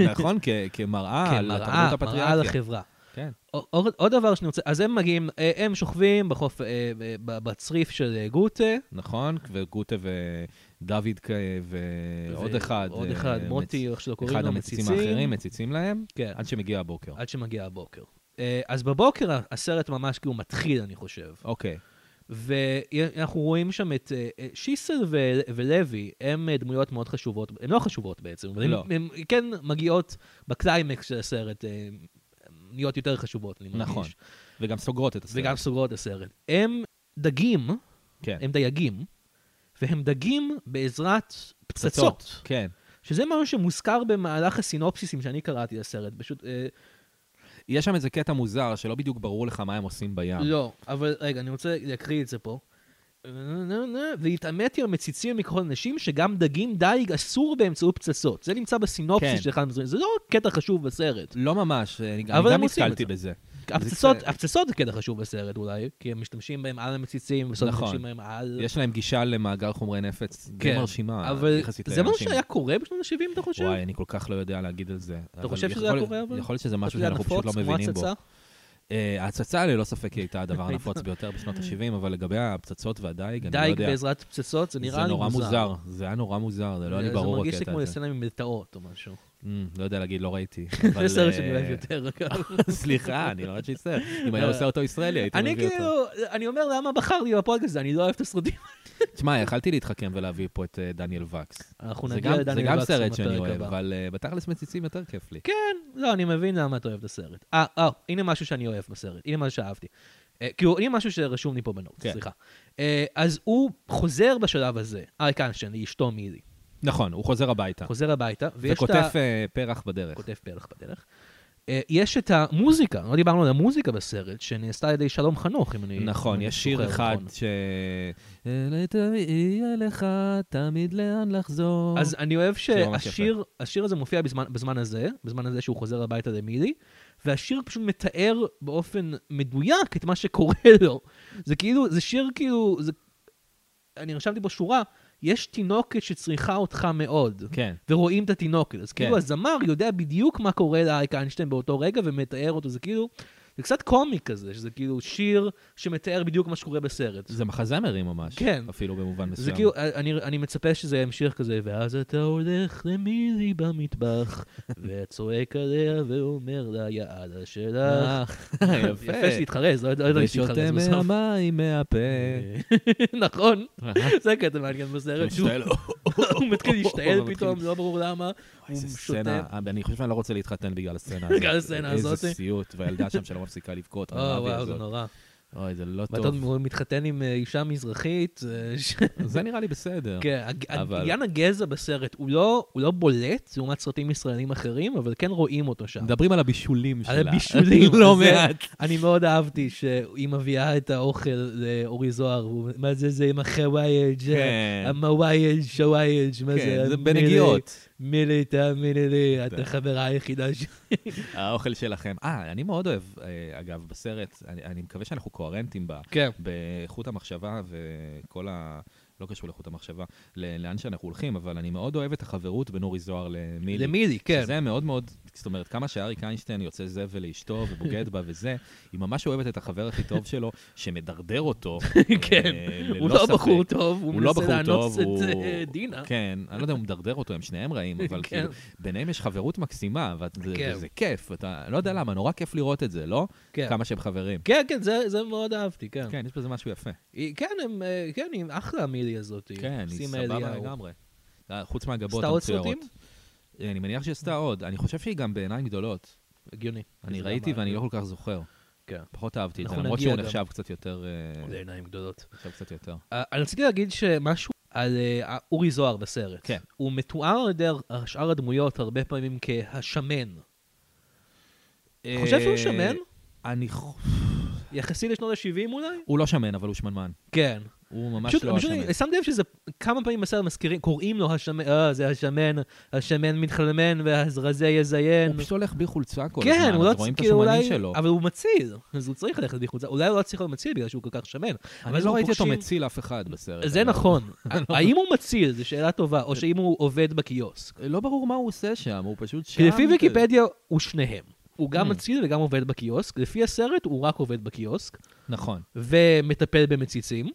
נכון? כ- כמראה על
כמראה,
התרבות
מראה
הפטריארכיה.
לחברה.
כן.
עוד, עוד דבר שאני רוצה, אז הם מגיעים, אה, הם שוכבים בחוף, אה, ב- ב- בצריף של אה, גוטה.
נכון, וגוטה ודוד כ- ועוד
ו-
אחד.
עוד
אה,
אחד,
מצ-
מוטי, איך שלא קוראים
אחד
לו,
המציצים
מציצים.
האחרים לא. מציצים להם,
כן.
עד שמגיע הבוקר.
עד שמגיע הבוקר. אה, אז בבוקר ה- הסרט ממש כאילו מתחיל, אני חושב.
אוקיי.
ואנחנו רואים שם את אה, אה, שיסל ו- ולוי, הם אה, דמויות מאוד חשובות, הן לא חשובות בעצם, אבל
לא.
הן כן מגיעות בקליימקס של הסרט, אה, נהיות יותר חשובות, אני מרגיש.
נכון. וגם סוגרות את הסרט.
וגם סוגרות את הסרט. הם דגים,
כן.
הם דייגים, והם דגים בעזרת פצצות.
כן.
שזה משהו שמוזכר במהלך הסינופסיסים שאני קראתי לסרט, פשוט... אה,
יש שם איזה קטע מוזר שלא בדיוק ברור לך מה הם עושים בים.
לא, אבל רגע, אני רוצה להקריא את זה פה. והתעמת עם המציצים מכל הנשים, שגם דגים דייג אסור באמצעות פצצות. זה נמצא בסינופסיס
כן.
של אחד המזרעים. זה לא קטע חשוב בסרט.
לא ממש, אני אני
אבל הם
גם
עושים
נתקלתי
את
בזה.
הפצצות,
קצת-
הפצצות זה קטע חשוב בסרט אולי, כי הם משתמשים בהם על המציצים, ובסוף
נכון.
משתמשים בהם על...
יש להם גישה למאגר חומרי נפץ די
לא. כן,
מרשימה,
אבל
יחסית
זה משהו
לאנשים.
שהיה קורה בשנות ה-70, אתה חושב?
וואי, אני כל כך לא יודע להגיד על זה. אבל
חושב שזה
יכול-
היה קורה, אבל?
יכול להיות שזה משהו
אתה יודע,
שאנחנו פשוט לא
נפוץ כמו
מבינים בו.
הצצה?
אה, ההצצה ללא ספק היא הייתה הדבר
הייתה.
הנפוץ ביותר בשנות ה-70, אבל לגבי הפצצות והדייג, אני לא
דייג
יודע.
בעזרת פצצות, זה נראה לי
זה נורא מוזר, זה היה נורא מוזר, זה לא היה לי ברור
זה מרגיש לי
הקטע
כמו
הזה.
לסצנה ממלטעות או משהו.
לא יודע להגיד, לא ראיתי.
זה
אבל,
סרט
אה,
שאני אוהב יותר, אגב.
סליחה, אני לא יודעת שיצטער. אם היה עושה אותו ישראלי, הייתי מביא
אני
אותו.
כאילו, אני אומר למה בחרתי בפודקאסט הזה, אני לא אוהב את הסרטים.
תשמע, יכלתי להתחכם ולהביא פה את אה, דניאל וקס.
אנחנו
זה
נגיע
גם-
לדניאל
זה גם
וקסון
סרט
בפרק
שאני אוהב,
הבא.
אבל אה, בתכלס מציצים יותר כיף לי.
כן, לא, אני מבין למה אתה אוהב את הסרט. אה, אה, הנה משהו שאני אוהב בסרט, הנה משהו שאהבתי. אה, כאילו, הנה משהו שרשום לי פה בנוט,
כן.
סליחה. אה, אז הוא חוזר בשלב הזה, אה, אריק איינשטיין, לאשתו מילי.
נכון, הוא חוזר הביתה.
חוזר הביתה, ויש את ה...
וכותב אה, פרח בדרך.
כותב פרח בדרך. אה, יש את המוזיקה, לא דיברנו על המוזיקה בסרט, שנעשתה על ידי שלום חנוך, אם אני... אם
נכון,
אני
יש שיר
זוכר
אחד
נכון.
ש... אלה תביאי אליך תמיד לאן לחזור.
אז אני אוהב
שיר ממש יפה.
שהשיר השיר הזה מופיע בזמן, בזמן הזה, בזמן הזה שהוא חוזר הביתה למילי, והשיר פשוט מתאר באופן מדויק את מה שקורה לו. זה כאילו, זה שיר כאילו, זה... אני רשמתי פה שורה, יש תינוקת שצריכה אותך מאוד.
כן.
ורואים את התינוקת. אז
כן.
כאילו הזמר יודע בדיוק מה קורה לאריק איינשטיין באותו רגע ומתאר אותו, זה כאילו, זה קצת קומי כזה, שזה כאילו שיר שמתאר בדיוק מה שקורה בסרט.
זה מחזמרים ממש.
כן.
אפילו במובן מסוים.
זה כאילו, אני, אני מצפה שזה ימשיך כזה, ואז אתה הולך למילי במטבח, וצועק עליה ואומר לה, יא אללה
אה,
שלך.
יפה.
יפה שתתחרז, לא ידעתי
ושותה
שתתחרז בסוף.
מהמים מהפה.
נכון, זה קטע מעניין בסרט, שהוא
משתעל,
הוא מתחיל להשתעל
מתחיל-
פתאום, לא ברור למה. הוא
איזה
שותה. אה,
סצנה, אני חושב שאני לא רוצה להתחתן בגלל הסצנה הזאת.
בגלל הסצנה הזאת.
איזה סיוט, והילדה שם שלא מפסיקה לבכות.
או,
הרבי
וואו, זה
הזאת.
נורא.
אוי, זה לא
ואתה
טוב.
עוד מתחתן עם אה, אישה מזרחית, אה, ש-
זה נראה לי בסדר.
כן, הג-
אבל-
עניין הגזע בסרט הוא לא- הוא לא בולט לעומת סרטים ישראלים אחרים, אבל כן רואים אותו שם.
מדברים על הבישולים שלה.
על הבישולים.
לא
זה-
מעט.
אני מאוד אהבתי שהיא מביאה את האוכל לאורי זוהר, והוא, מה זה זה עם החווייג',
כן.
המווייג', שווייג', מה זה?
כן, זה
מילי,
בנגיעות.
מילי, תאמיני לי, את
זה-
החברה היחידה ש...
האוכל שלכם. אה, אני מאוד אוהב, אה, אגב, בסרט, אני- אני מקווה שאנחנו קוהרנטים בה.
כן.
באיכות המחשבה וכל ה... לא קשור לאיכות המחשבה, ל- לאן שאנחנו הולכים, אבל אני מאוד אוהב את החברות בין אורי זוהר למילי.
למילי, כן.
שזה מאוד מאוד, זאת אומרת, כמה שאריק איינשטיין יוצא זבל לאשתו ובוגד בה וזה, היא ממש אוהבת את החבר הכי טוב שלו, שמדרדר אותו.
כן.
אה,
הוא
ללא
לא
ספק.
בחור טוב, הוא
הוא לא
מנסה
בחור
לאנוס
טוב,
את
הוא...
אה, דינה.
כן, אני לא יודע, הוא מדרדר אותו, הם שניהם רעים, אבל
כן.
כאילו, ביניהם יש חברות מקסימה, ואת- זה-
כן.
וזה כיף, אתה לא יודע למה, נורא כיף לראות את זה, לא?
כן.
כמה שהם חברים.
כן, כן, זה זה מאוד אהבתי, כן.
כן, יש בזה משהו יפה.
היא- כן, הם, אה, כן, היא אחלה המילי הזאת.
כן, היא
שים
סבבה
אליהו.
לגמרי. אה, חוץ מהגבות
עשתה עוד
המצוירות.
סרטים?
אה, אני מניח שהיא עשתה עוד. אני חושב שהיא גם בעיניים גדולות.
הגיוני.
אני
זה
ראיתי
גם
ואני
אהבתי.
לא כל כך זוכר.
כן.
פחות אהבתי את זה,
אנחנו
למרות
נגיע
שהוא
גם. אוקיי.
נחשב קצת יותר... אה,
זה עיניים גדולות.
נחשב קצת יותר.
אה, אני רציתי להגיד שמשהו על אה, אורי זוהר בסרט.
כן.
הוא מתואר על ידי הר- שאר הדמויות הרבה פעמים כהשמן. אתה חושב שהוא
אה,
שמן?
אני... ח-
יחסי לשנות ה-70 אולי?
הוא לא שמן, אבל הוא שמנמן.
כן.
הוא ממש
פשוט,
לא
פשוט
השמן.
אני- שמתי לב שזה כמה פעמים בסרט מזכירים, קוראים לו השמן, אה, זה השמן, השמן מתחלמן והרזה יזיין.
הוא פשוט הולך בלי חולצה כל
כן, הוא
הזמן,
לא
אז רואים את
כאילו
השומנים
אולי-
שלו.
אבל הוא מציל, אז הוא צריך ללכת לחוצה. אולי הוא לא צריך להיות מציל בגלל שהוא כל כך שמן.
אני
אבל
לא
אנחנו
ראיתי אותו
פוגשים-
מציל לא. אף אחד בסרט.
זה
אבל-
נכון. האם הוא מציל, זו שאלה טובה, או שאם הוא עובד בקיוסק.
לא ברור מה הוא עושה שם, הוא פשוט שם.
כי לפי
כזה.
ויקיפדיה הוא שניהם. הוא גם
Hmm.
מציל וגם עובד בקיוסק. לפי הסרט הוא רק עובד בקיוסק,
נכון.
ומטפל במציצים.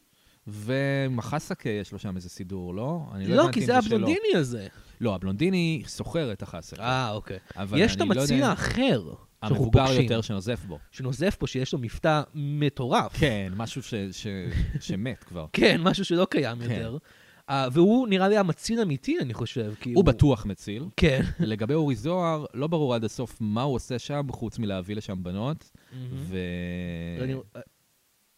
ומחסקה יש לו שם איזה סידור, לא? אני
לא,
הבנתי
כי
אם
זה
שלו.
הבלונדיני הזה.
לא, הבלונדיני סוחר את החסקה.
אה, אוקיי.
אבל
יש את
אני לא יודע
המציל
אם-
האחר, שאנחנו
המבוגר
פוגשים,
יותר שנוזף בו.
שנוזף פה שיש לו מבטא מטורף.
כן, משהו ש- ש- שמת כבר.
כן, משהו שלא קיים
כן.
יותר. אה, והוא נראה לי המציל אמיתי, אני חושב. כי
הוא בטוח מציל.
כן.
לגבי אורי זוהר, לא ברור עד הסוף מה הוא עושה שם, חוץ מלהביא לשם בנות. ו...
ואני-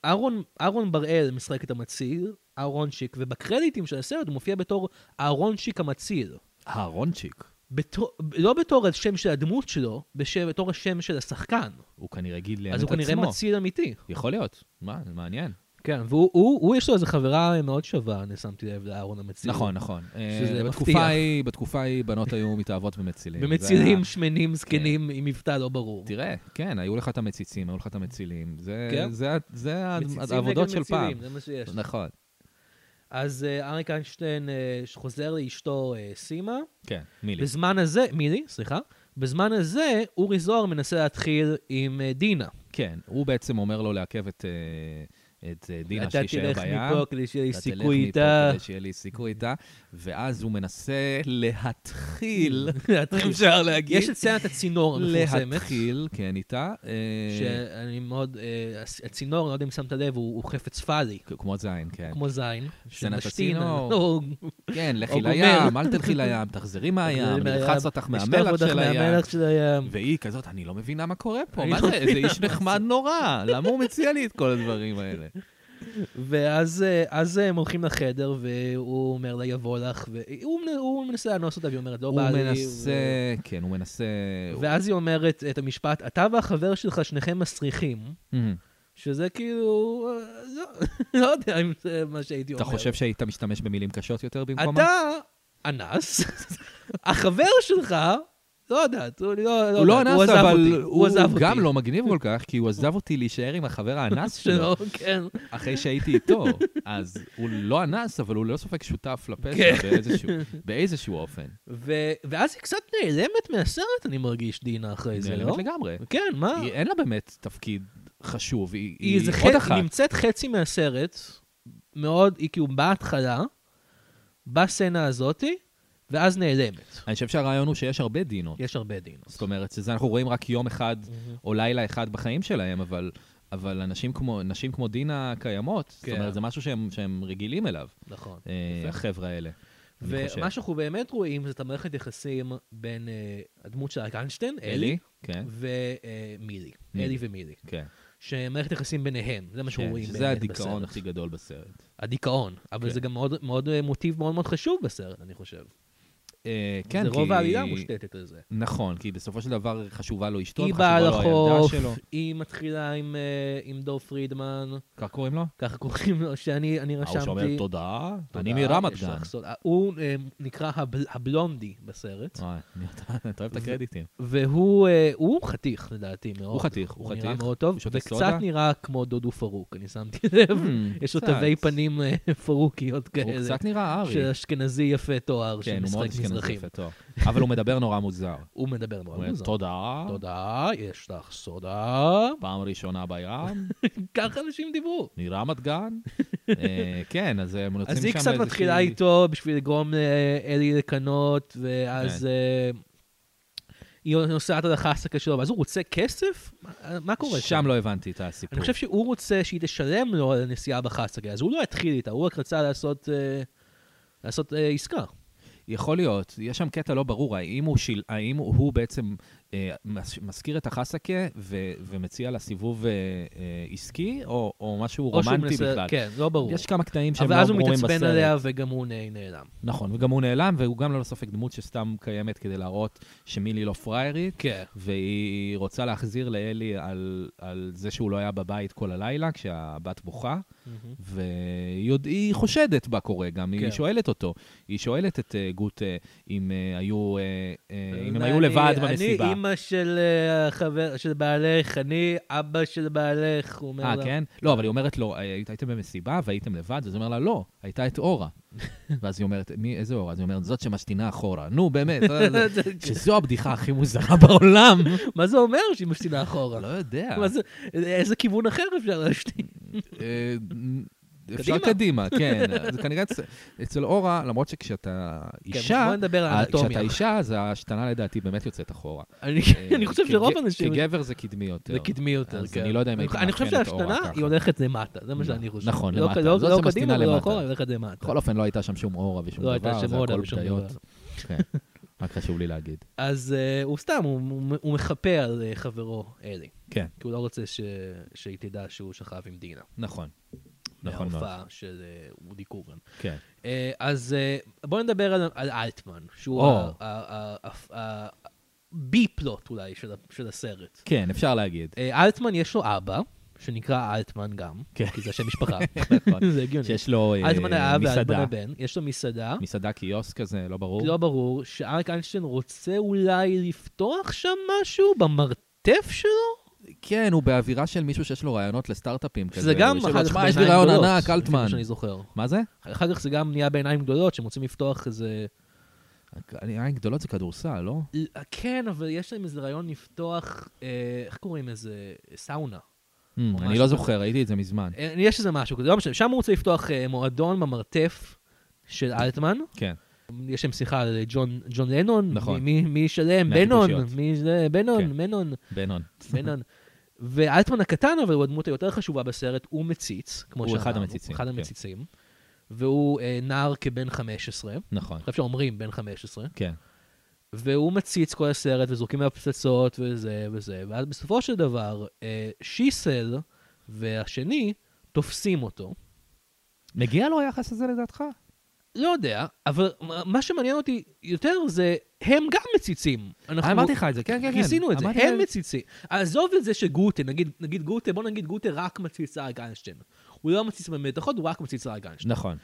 אהרון- אהרון בראל משחק את המציל, אהרונצ'יק, ובקרדיטים של הסרט הוא מופיע בתור אהרונצ'יק המציל.
אהרונצ'יק,
בתור- לא בתור השם של הדמות שלו, בשם- בתור השם של השחקן.
הוא כנראה גיל את
אז
עצמו.
הוא כנראה מציל אמיתי.
יכול להיות, מה, זה מעניין.
כן, והוא, הוא- הוא, יש לו איזו חברה מאוד שווה, אני שמתי לב לאהרון המציל.
נכון, נכון.
שזה
אה,
מפתיע.
בתקופה ההיא, בתקופה ההיא בנות היו מתאהבות במצילים. זה
במצילים
היה-
שמנים, זקנים, עם מבטא לא ברור.
תראה, כן, היו לך את המציצים, היו לך את המצילים. זה-
כן.
זה ה- זה ה-
מציצים
העבודות
נגד
של פעם.
מצילים, זה מה שיש.
נכון,
אז אה, אריק איינשטיין אה, חוזר לאשתו אה, סימה,
כן, מילי.
בזמן הזה, מילי, סליחה, בזמן הזה אורי זוהר מנסה להתחיל עם אה, דינה.
כן, הוא בעצם אומר לו לעכב את, אה, את אה, דינה
אתה
שישאר בים.
תלך מפה כדי שיהיה לי
אתה תלך
סיכוי
מפה
איתה.
כדי שיהיה לי סיכוי איתה, ואז הוא מנסה להתחיל,
להתחיל.
אפשר להגיד,
יש את סצנת הצינור המפורסמת.
להתחיל, כן, איתה, אה,
שאני מאוד, אה, הס- הצינור, אני לא יודע אם שמת לב, הוא הוא חפץ פאלי,
כ- כמו זין, כן.
כמו זין. שמשתין,
הצינור.
לא, הוא
כן,
או
לכי
גומר.
לים, אל תלכי לים, תחזרי מהים,
תחזרי
אני
מהים,
אלחץ אותך
ישלח
מהמלח
אותך
של הים.
מהמלח של הים.
והיא כזאת, אני לא מבינה מה קורה פה,
אני
מה
לא
זה, איזה
מבינה
איש נחמד נורא, למה הוא מציע לי את כל הדברים האלה?
ואז אה, אז הם הולכים לחדר, והוא אומר לה, יבוא לך, והוא מנ- הוא מנסה לאנוס אותה, והיא אומרת, לא
הוא
בא לי.
מנסה, כן, הוא מנסה...
ו- ואז היא אומרת את המשפט, אתה והחבר שלך שניכם מסריחים,
Mhm.
שזה כאילו, אה, לא, לא יודע אם זה מה שהייתי אומר.
אתה חושב שהיית משתמש במילים קשות יותר במקומה?
אתה אנס, החבר שלך, לא יודעת, הוא לא,
הוא לא
יודעת,
אנס,
עזב
אבל
אותי,
הוא
עזב אותי.
גם לא מגניב כל כך, כי הוא עזב אותי להישאר עם החבר האנס שלו,
שלו, כן.
אחרי שהייתי איתו. אז הוא לא אנס, אבל הוא לא ספק שותף לפשע
כן.
באיזשהו- באיזשהו אופן.
ו- ואז היא קצת נעלמת מהסרט, אני מרגיש, דינה, אחרי זה, לא?
נעלמת לגמרי.
כן, מה?
היא- אין לה באמת תפקיד חשוב, היא-
היא,
היא
זה
עוד
חצי,
אחת.
היא נמצאת חצי מהסרט, מאוד, היא כאילו בהתחלה, בסצנה הזאתי, ואז נעלמת.
אני חושב שהרעיון הוא שיש הרבה דינות.
יש הרבה דינות. Mm-hmm.
זאת אומרת, שזה אנחנו רואים רק יום אחד או לילה אחד בחיים שלהם, אבל... אבל אנשים כמו, נשים כמו דינה קיימות, זאת
כן.
אומרת, זה משהו שהם, שהם רגילים אליו,
נכון.
אה,
יפה.
החבר'ה האלה. אני חושב.
ומה שאנחנו באמת רואים זה את המערכת יחסים בין אה, הדמות של איינשטיין, אלי,
אלי? כן,
ומילי.
מילי.
אלי ומילי.
כן.
שמערכת יחסים ביניהם, זה מה שאנחנו
כן,
רואים.
שזה
באמת
הדיכאון
בסרט.
הכי גדול בסרט.
הדיכאון, אבל
כן.
זה גם מאוד- מאוד אה, מוטיב מאוד מאוד חשוב בסרט, אני חושב.
אה, כן,
זה
כי...
רוב העלילה מושתתת על זה.
נכון, כי בסופו של דבר חשובה לו אשתו,
היא
וחשובה
באה
לו הילדה
לחוף,
שלו.
היא מתחילה עם, אה, עם דוב פרידמן,
כך קוראים לו?
ככה קוראים לו, שאני אני
אה, הוא
רשמתי.
שאומר תודה, אני
תודה,
מרמת
יש
גן.
לך סוד- אה, הוא אה, נקרא הבל- הבלונדי בסרט,
וואי, אני- אתה אתה אוהב את הקרדיטים.
והוא אה, הוא חתיך לדעתי מאוד.
הוא חתיך, הוא
הוא נראה
חתיך.
מאוד טוב,
הוא שותה
וקצת
סודה.
נראה כמו דודו פרוק, אני שמתי לב. יש לו
Hmm, קצת.
תווי פנים אה, פרוקיות
הוא
כאלה.
קצת נראה ארי.
של אשכנזי יפה תואר, של
כן, הוא מאוד
משחק
אשכנזי
מזרחים.
יפה טוב. אבל הוא מדבר נורא מוזר.
הוא מדבר
הוא
מאוד
אומר,
מוזר.
תודה,
תודה, יש לך סודה.
פעם ראשונה בים,
ככה אנשים דיברו.
מרמת גן. אה, כן, אז הם מנוצרים שם
אז היא קצת
לאיזושהי-
מתחילה איתו בשביל לגרום לאלי לקנות, ואז
כן.
אה, היא נוסעת על החסקה שלו, ואז הוא רוצה כסף? מה- מה קורה שם?
שם לא הבנתי את הסיפור.
אני חושב שהוא רוצה שהיא תשלם לו על הנסיעה בחסקה, אז הוא לא התחיל איתה, הוא רק רצה לעשות... אה, לעשות אה, עסקה.
יכול להיות, יש שם קטע לא ברור, האם הוא, שיל, האם הוא בעצם אה, מש- מזכיר את החסקה ו, ומציע לה סיבוב אה, אה, עסקי, או, או משהו
או שהוא
רומנטי
מנסה-
בכלל?
כן, לא ברור.
יש כמה קטעים שהם
אבל
לא
אז הוא
ברורים בסרט.
מתעצבן עליה וגם הוא נ- נעלם.
נכון, וגם הוא נעלם, והוא גם ללא ספק דמות שסתם קיימת כדי להראות שמילי לא פריירית,
כן.
והיא רוצה להחזיר לאלי על, על זה שהוא לא היה בבית כל הלילה, כשהבת בוכה.
Mm-hmm.
והיא עוד- היא חושדת בה קורה גם,
כן.
היא שואלת אותו. היא שואלת את אה, גוט אה, אם אה, היו, אה, אה, אם הם היו
אני-
לבד במסיבה.
אני אימא של אה, החבר, של בעלך, אני אבא של בעלך, הוא אומר
אה,
לה.
כן? לא, אבל היא אומרת לו, "אה, היית- הייתם במסיבה והייתם לבד? אז הוא אומר לה, לא, הייתה את אורה. ואז היא אומרת, מי, איזה אורה? אז היא אומרת, זאת שמשתינה אחורה. נו, באמת, אה, זה- שזו הבדיחה הכי מוזרה בעולם.
מה זה אומר שהיא משתינה אחורה?
לא יודע.
מה זה- איזה כיוון אחר אפשר להשתין?
אה, אפשר
קדימה.
קדימה, כן. זה כנראה אצ- אצל אורה, למרות שכשאתה אישה,
כן, בוא נדבר על
אה,
האנטומיה.
כשאתה אישה, אז ההשתנה לדעתי באמת יוצאת אחורה.
אני
אה,
אני חושב
כג-
שרוב האנשים...
כגבר זה קדמי יותר.
זה קדמי יותר,
אז
כן.
אני לא יודע אם הייתי
אני חושב
מאפיין את אורה
שההשתנה
ככה.
היא הולכת למטה, זה מה שאני חושב.
נכון,
לא-
למטה.
לא-
זאת
לא
שמשתינה
קדימה ולא
למטה.
אחורה, היא הולכת למטה.
בכל אופן, לא הייתה שם שום אורה ושום
לא הייתה
דבר,
שם
זה
אורה
הכל
ושום
בדיות.
דבר.
כן, רק חשוב לי להגיד.
אז אה, הוא סתם, הוא- הוא- הוא מחפה על אה, חברו אלי,
כן,
כי הוא לא רוצה ש- שהיא תדע שהוא שכב עם דינה.
נכון. נכון מאוד.
מההופעה של אה, אודי קורן.
כן.
אה, אז אה, בואו נדבר על- על אלטמן, שהוא
או.
הבי-פלוט אולי של ה- של הסרט.
כן, אפשר להגיד.
אה, אלטמן יש לו אבא, שנקרא אלטמן גם,
כן.
כי זה שם משפחה.
נכון.
זה הגיוני.
שיש לו אה,
אלטמן האב ואלטמן
מסעדה,
הבן, יש לו מסעדה,
מסעדה קיוסק כזה, לא ברור.
לא ברור, שאריק איינשטיין רוצה אולי לפתוח שם משהו במרתף שלו?
כן, הוא באווירה של מישהו שיש לו רעיונות לסטארט-אפים כזה.
שזה גם
הוא יושב לו,
אחר כך
"תשמע, יש לי
בעיניים
רעיון
גדולות,
ענק,
לפי
אלטמן.
מה שאני זוכר.
מה זה?
אחר כך זה גם נהיה בעיניים גדולות, שהם רוצים לפתוח איזה...
אני- עין גדולות זה כדורסל, לא?
כן, אבל יש להם איזה רעיון לפתוח, אה, איך קוראים לזה? סאונה.
אמ,
או
אני
משהו
לא
כזה.
זוכר, ראיתי את זה מזמן.
אה, יש איזה משהו כזה, לא משנה. שם הוא רוצה לפתוח אה, מועדון במרתף של אלטמן.
כן.
יש שם שיחה על אה, ג'ון, ג'ון לנון,
נכון.
מי, מי- מי ישלם, בנון,
מהטיפושיות.
מי זה, בנון,
כן.
מנון,
בנון.
בנון. ואלטמן הקטן, אבל הוא הדמות היותר חשובה בסרט, הוא מציץ, כמו
הוא אחד
שאמרנו,
המציצים,
אחד
כן.
המציצים. והוא אה, נער כבן 15, אני
נכון.
חושב שאומרים בן 15,
כן.
והוא מציץ כל הסרט, וזורקים עליו פצצות וזה וזה, ואז בסופו של דבר, אה, שיסל והשני תופסים אותו.
מגיע לו היחס הזה לדעתך?
לא יודע, אבל מה- מה שמעניין אותי יותר זה, הם גם מציצים. אנחנו-
אמרתי לך את זה, כן, כן, כן.
כיסינו את זה,
אמרתי
הם
לה-
מציצים. עזוב את זה שגוטה, נגיד, נגיד גוטה, בוא נגיד גוטה רק מציץ אריק איינשטיין. הוא לא מציץ במתחות, הוא רק מציץ אריק איינשטיין.
נכון.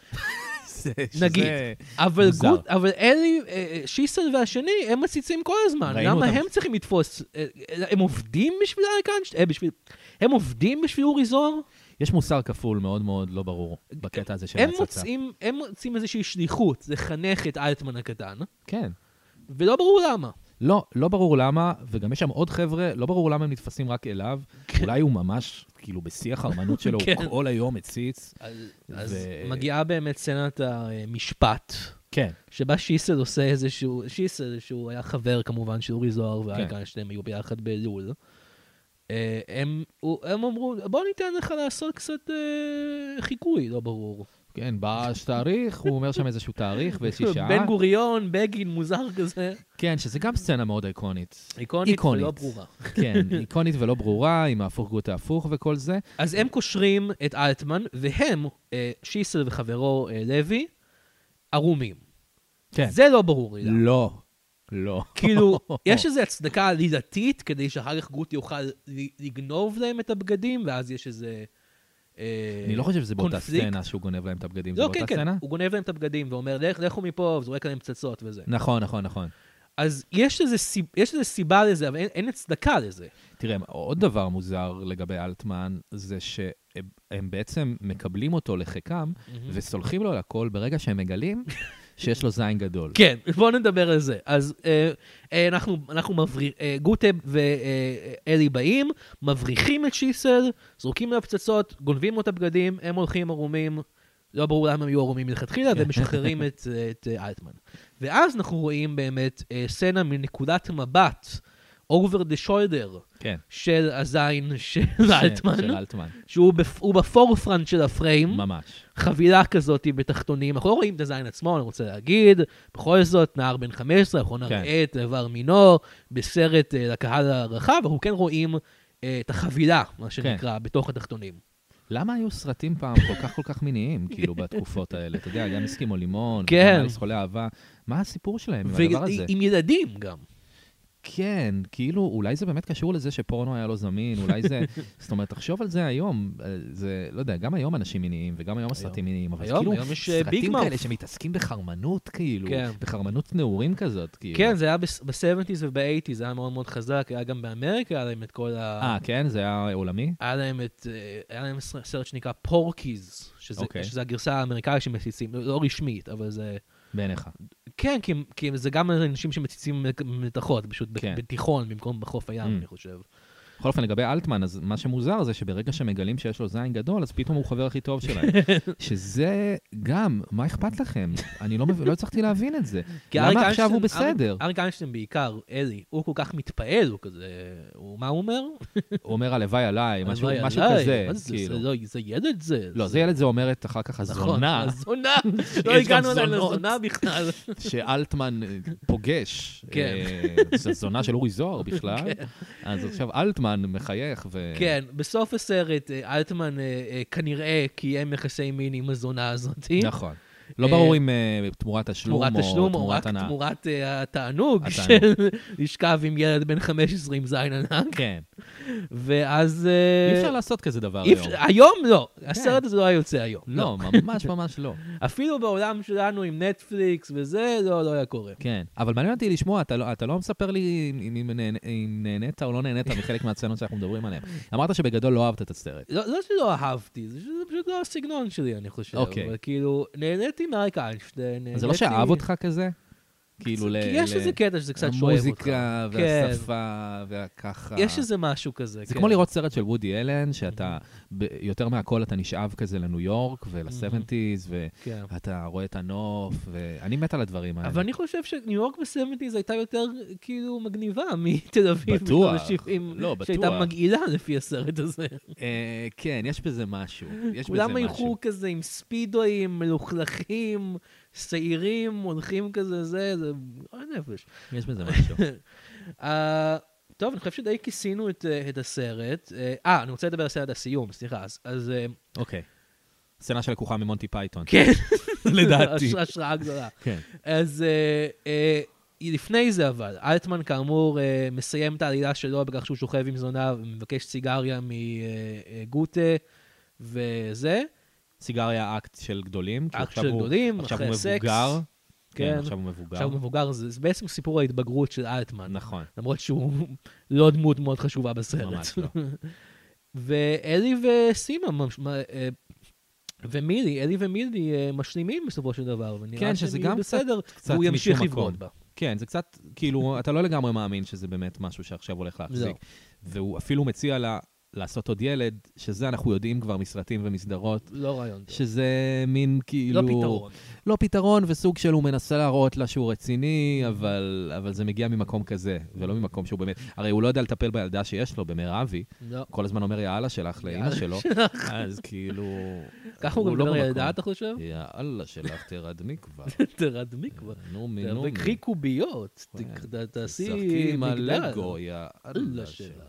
זה-
נגיד.
שזה-
אבל
מוזר.
גוט, אבל אלי, אה, שיסל והשני, הם מציצים כל הזמן.
ראינו
למה
אותם.
הם צריכים לתפוס? אה, אה, הם עובדים בשביל אריק איינשטיין? אה, בשביל... הם עובדים בשביל אורי זוהר?
יש מוסר כפול מאוד מאוד לא ברור בקטע הזה של
הם
ההצצה.
מוצאים, הם מוצאים איזושהי שליחות, לחנך את אלטמן הקטן,
כן.
ולא ברור למה.
לא, לא ברור למה, וגם יש שם עוד חבר'ה, לא ברור למה הם נתפסים רק אליו.
כן.
אולי הוא ממש, כאילו, בשיח האמנות שלו,
כן.
הוא כל היום מציץ.
אז, אז
ו-
מגיעה באמת סצנת המשפט,
כן.
שבה שיסל עושה איזשהו, שיסל, שהוא היה חבר כמובן של אורי
כן.
זוהר ואריק איינשטיין, היו ביחד באלול. אה, הם, הוא- הם אמרו, בוא ניתן לך לעשות קצת אה, חיקוי, לא ברור.
כן, באש תאריך, הוא אומר שם איזשהו תאריך ואיזושהי שעה.
בן גוריון, בגין, מוזר כזה.
כן, שזה גם סצנה מאוד איקונית.
איקונית
איקונית.
ולא ברורה.
כן, איקונית ולא ברורה, עם ההפוך גוט ההפוך וכל זה.
אז הם קושרים את אלטמן, והם, אה, שיסל וחברו אה, לוי, ערומים.
כן.
זה לא ברור לי. למה.
לא. לא.
כאילו, יש איזו הצדקה עלילתית כדי שאחר כך גוט יוכל ל- לגנוב להם את הבגדים, ואז יש איזה... אה,
אני לא חושב שזה באותה
קונפליקט.
סצנה שהוא גונב להם את הבגדים, זה
לא,
באותה
כן, כן,
סצנה?
הוא גונב להם את הבגדים ואומר, "לך- לכו מפה, וזורק עליהם פצצות וזה.
נכון, נכון, נכון.
אז יש איזה סיב- יש איזה סיבה לזה, אבל אין- אין הצדקה לזה.
תראה, עוד דבר מוזר לגבי אלטמן, זה שהם הם בעצם מקבלים אותו לחיקם, וסולחים לו על הכל ברגע שהם מגלים שיש לו זין גדול.
כן, בואו נדבר על זה. אז אה, אה, אנחנו, אנחנו מבריחים, אה, גוטה ואלי באים, מבריחים את שיסל, זורקים עליו פצצות, גונבים לו את הבגדים, הם הולכים ערומים, לא ברור למה הם היו ערומים מלכתחילה, ומשחררים את, אה, את אה, אלטמן. ואז אנחנו רואים באמת אה, סצנה מנקודת מבט, over the shoulder,
כן.
של הזין של אלטמן,
של אלטמן,
שהוא בפ, הוא בפורפרנט של הפריים.
ממש.
חבילה כזאת בתחתונים, אנחנו לא רואים את הזין עצמו, אני רוצה להגיד, בכל זאת, נער בן 15, אנחנו
כן.
נראה את איבר מינו בסרט אה, לקהל הרחב, אנחנו כן רואים אה, את החבילה,
כן.
מה שנקרא, בתוך התחתונים.
למה היו סרטים פעם כל כך כל כך מיניים, כאילו, בתקופות האלה? אתה יודע, גם הסכימו לימון,
כן.
וגם אליס חולה אהבה. מה הסיפור שלהם עם הדבר הזה?
ועם ילדים גם.
כן, כאילו, אולי זה באמת קשור לזה שפורנו היה לא זמין, אולי זה... זאת אומרת, תחשוב על זה היום, אה, זה, לא יודע, גם היום אנשים מיניים, וגם היום הסרטים מיניים, אבל
היום,
כאילו,
היום יש, אה, ביג
סרטים
מאוף.
כאלה שמתעסקים בחרמנות, כאילו,
כן.
בחרמנות נעורים כזאת, כאילו.
כן, זה היה ב-70's וב-80's, זה היה מאוד מאוד חזק, היה גם באמריקה, היה להם את כל ה...
אה, כן? זה היה עולמי?
היה להם את... אה, היה להם ס- סרט שנקרא פורקיז, שזה-
אוקיי.
שזה הגרסה האמריקאית שמציצים, לא- לא רשמית, אבל זה...
בעיניך.
כן, כי, הם- כי הם- זה גם אנשים שמציצים מתחות, פשוט כן.
כן.
בתיכון במקום בחוף הים,
Mm.
אני חושב.
בכל אופן, לגבי אלטמן, אז מה שמוזר זה שברגע שמגלים שיש לו זין גדול, אז פתאום הוא חבר הכי טוב שלהם. שזה גם, מה אכפת לכם? אני לא מבין- לא הצלחתי להבין את זה.
כי אריק
למה עכשיו הוא
איינשטיין-
בסדר?
אריק- אריק איינשטיין בעיקר, אלי, הוא כל כך מתפעל, הוא כזה... הוא, מה הוא אומר?
הוא אומר, הלוואי עליי, אה, משהו
הלוואי
משהו
עליי,
כזה.
מה זה,
כאילו.
זה, נכון, לא, זה ילד זה.
לא, זה ילד זה אומרת אחר כך הזונה,
הזונה. לא
יש גם
הגענו עדיין
זונות.
לזונה בכלל.
שאלטמן אה, פוגש.
כן.
אה, זו זונה של אורי זוהר בכלל. אז עכשיו אלטמן מחייך ו...
כן, בסוף הסרט, אה, אלטמן אה, אה, כנראה קיים יחסי מין עם הזונה הזאתי.
נכון. לא
אה,
ברור אם אה, תמורת תשלום
תמורת
או
תשלום, או רק
תמורת הנאה.
תמורת אה, התענוג של
התענוג.
לשכב עם ילד בן 15 עם זין ענק.
כן.
ואז... אה,
אי אפשר לעשות כזה דבר
אי
היום. כן.
אפשר- היום לא, הסרט הזה לא היה יוצא היום.
לא, ממש ממש לא.
אפילו בעולם שלנו עם נטפליקס וזה, לא, לא היה קורה.
כן. אבל מעניין אותי לשמוע, אתה לא- אתה לא מספר לי אם- אם נהנ- אם נהנית או לא נהנית מחלק מהצנות שאנחנו מדברים עליהן. אמרת שבגדול לא אהבת את הסרט.
לא, לא שלא אהבתי, זה שזה פשוט לא הסגנון שלי, אני חושב.
אוקיי.
אבל כאילו, נהניתי מאריק איינשטיין,
אז
נהניתי-
זה לא שאהב אותך כזה? כאילו ל...
כי יש
ל-
איזה קטע שזה קצת שואב אותך. כן.
המוזיקה והשפה והככה.
יש איזה משהו כזה.
זה
כן.
כמו לראות סרט של וודי אלן, שאתה, ב- יותר מהכל אתה נשאב כזה לניו יורק ול-70's,
כן.
ואתה רואה את הנוף, ואני מת על הדברים האלה.
אבל אני חושב שניו יורק בסבנטיז הייתה יותר כאילו מגניבה מתל אביב.
בטוח.
בשנות ה-שבעים,
לא, בטוח.
שהייתה מגעילה לפי הסרט הזה.
אה, כן, יש בזה משהו. יש בזה
כולם
משהו.
הלכו כזה עם ספידואים, מלוכלכים, שעירים, הולכים כזה, זה, זה גועל נפש.
יש בזה משהו.
אה, טוב, אני חושב שדי כיסינו את, אה, את הסרט. אה, אה, אני רוצה לדבר על סרט הסיום, סליחה. אז- אז אה,
אוקיי. סצנה שלקוחה ממונטי פייתון.
כן,
לדעתי.
הש- השראה גדולה.
כן.
אז אה, אה, לפני זה אבל, אלטמן כאמור אה, מסיים את העלילה שלו בכך שהוא שוכב עם זונה ומבקש סיגריה מגוטה וזה,
סיגריה אקט של גדולים. כי
אקט
עכשיו
של
הוא-
גדולים,
עכשיו
אחרי
הוא
סקס.
מבוגר.
כן.
כן, עכשיו הוא מבוגר.
עכשיו הוא מבוגר, זה, זה בעצם סיפור ההתבגרות של אלטמן.
נכון.
למרות שהוא לא דמות מאוד חשובה בסרט.
ממש לא.
ואלי וסימה, ממש- מה, אה, ומילי, אלי ומילי אה, משלימים בסופו של דבר, ונראה
כן,
שהם
שזה
יהיו
גם קצת-
בסדר,
קצת
והוא ימשיך
משום
לבגוד
מקום.
בה.
כן, זה קצת, כאילו, אתה לא לגמרי מאמין שזה באמת משהו שעכשיו הולך
לא.
להחזיק. והוא אפילו מציע לה לעשות עוד ילד, שזה אנחנו יודעים כבר מסרטים ומסדרות,
לא רעיון טוב.
שזה מין כאילו...
לא פתרון.
לא פתרון, וסוג של הוא מנסה להראות לה שהוא רציני, אבל, אבל זה מגיע ממקום כזה, ולא ממקום שהוא באמת... הרי הוא לא יודע לטפל בילדה שיש לו, במרבי.
לא.
כל הזמן אומר יאללה שלך לאימא
יאללה
שלו, אז כאילו...
ככה הוא גם
לא
מדבר
במקום.
ילדה, אתה חושב?
יאללה שלך, תרדמי כבר.
תרדמי כבר.
אה, נו מי נו מי.
תקחי קוביות, ת-
כן.
ת- תעשי
תשחקי עם
מגדל.
הלגו, יאללה
אללה
שלך.
שלך. אה,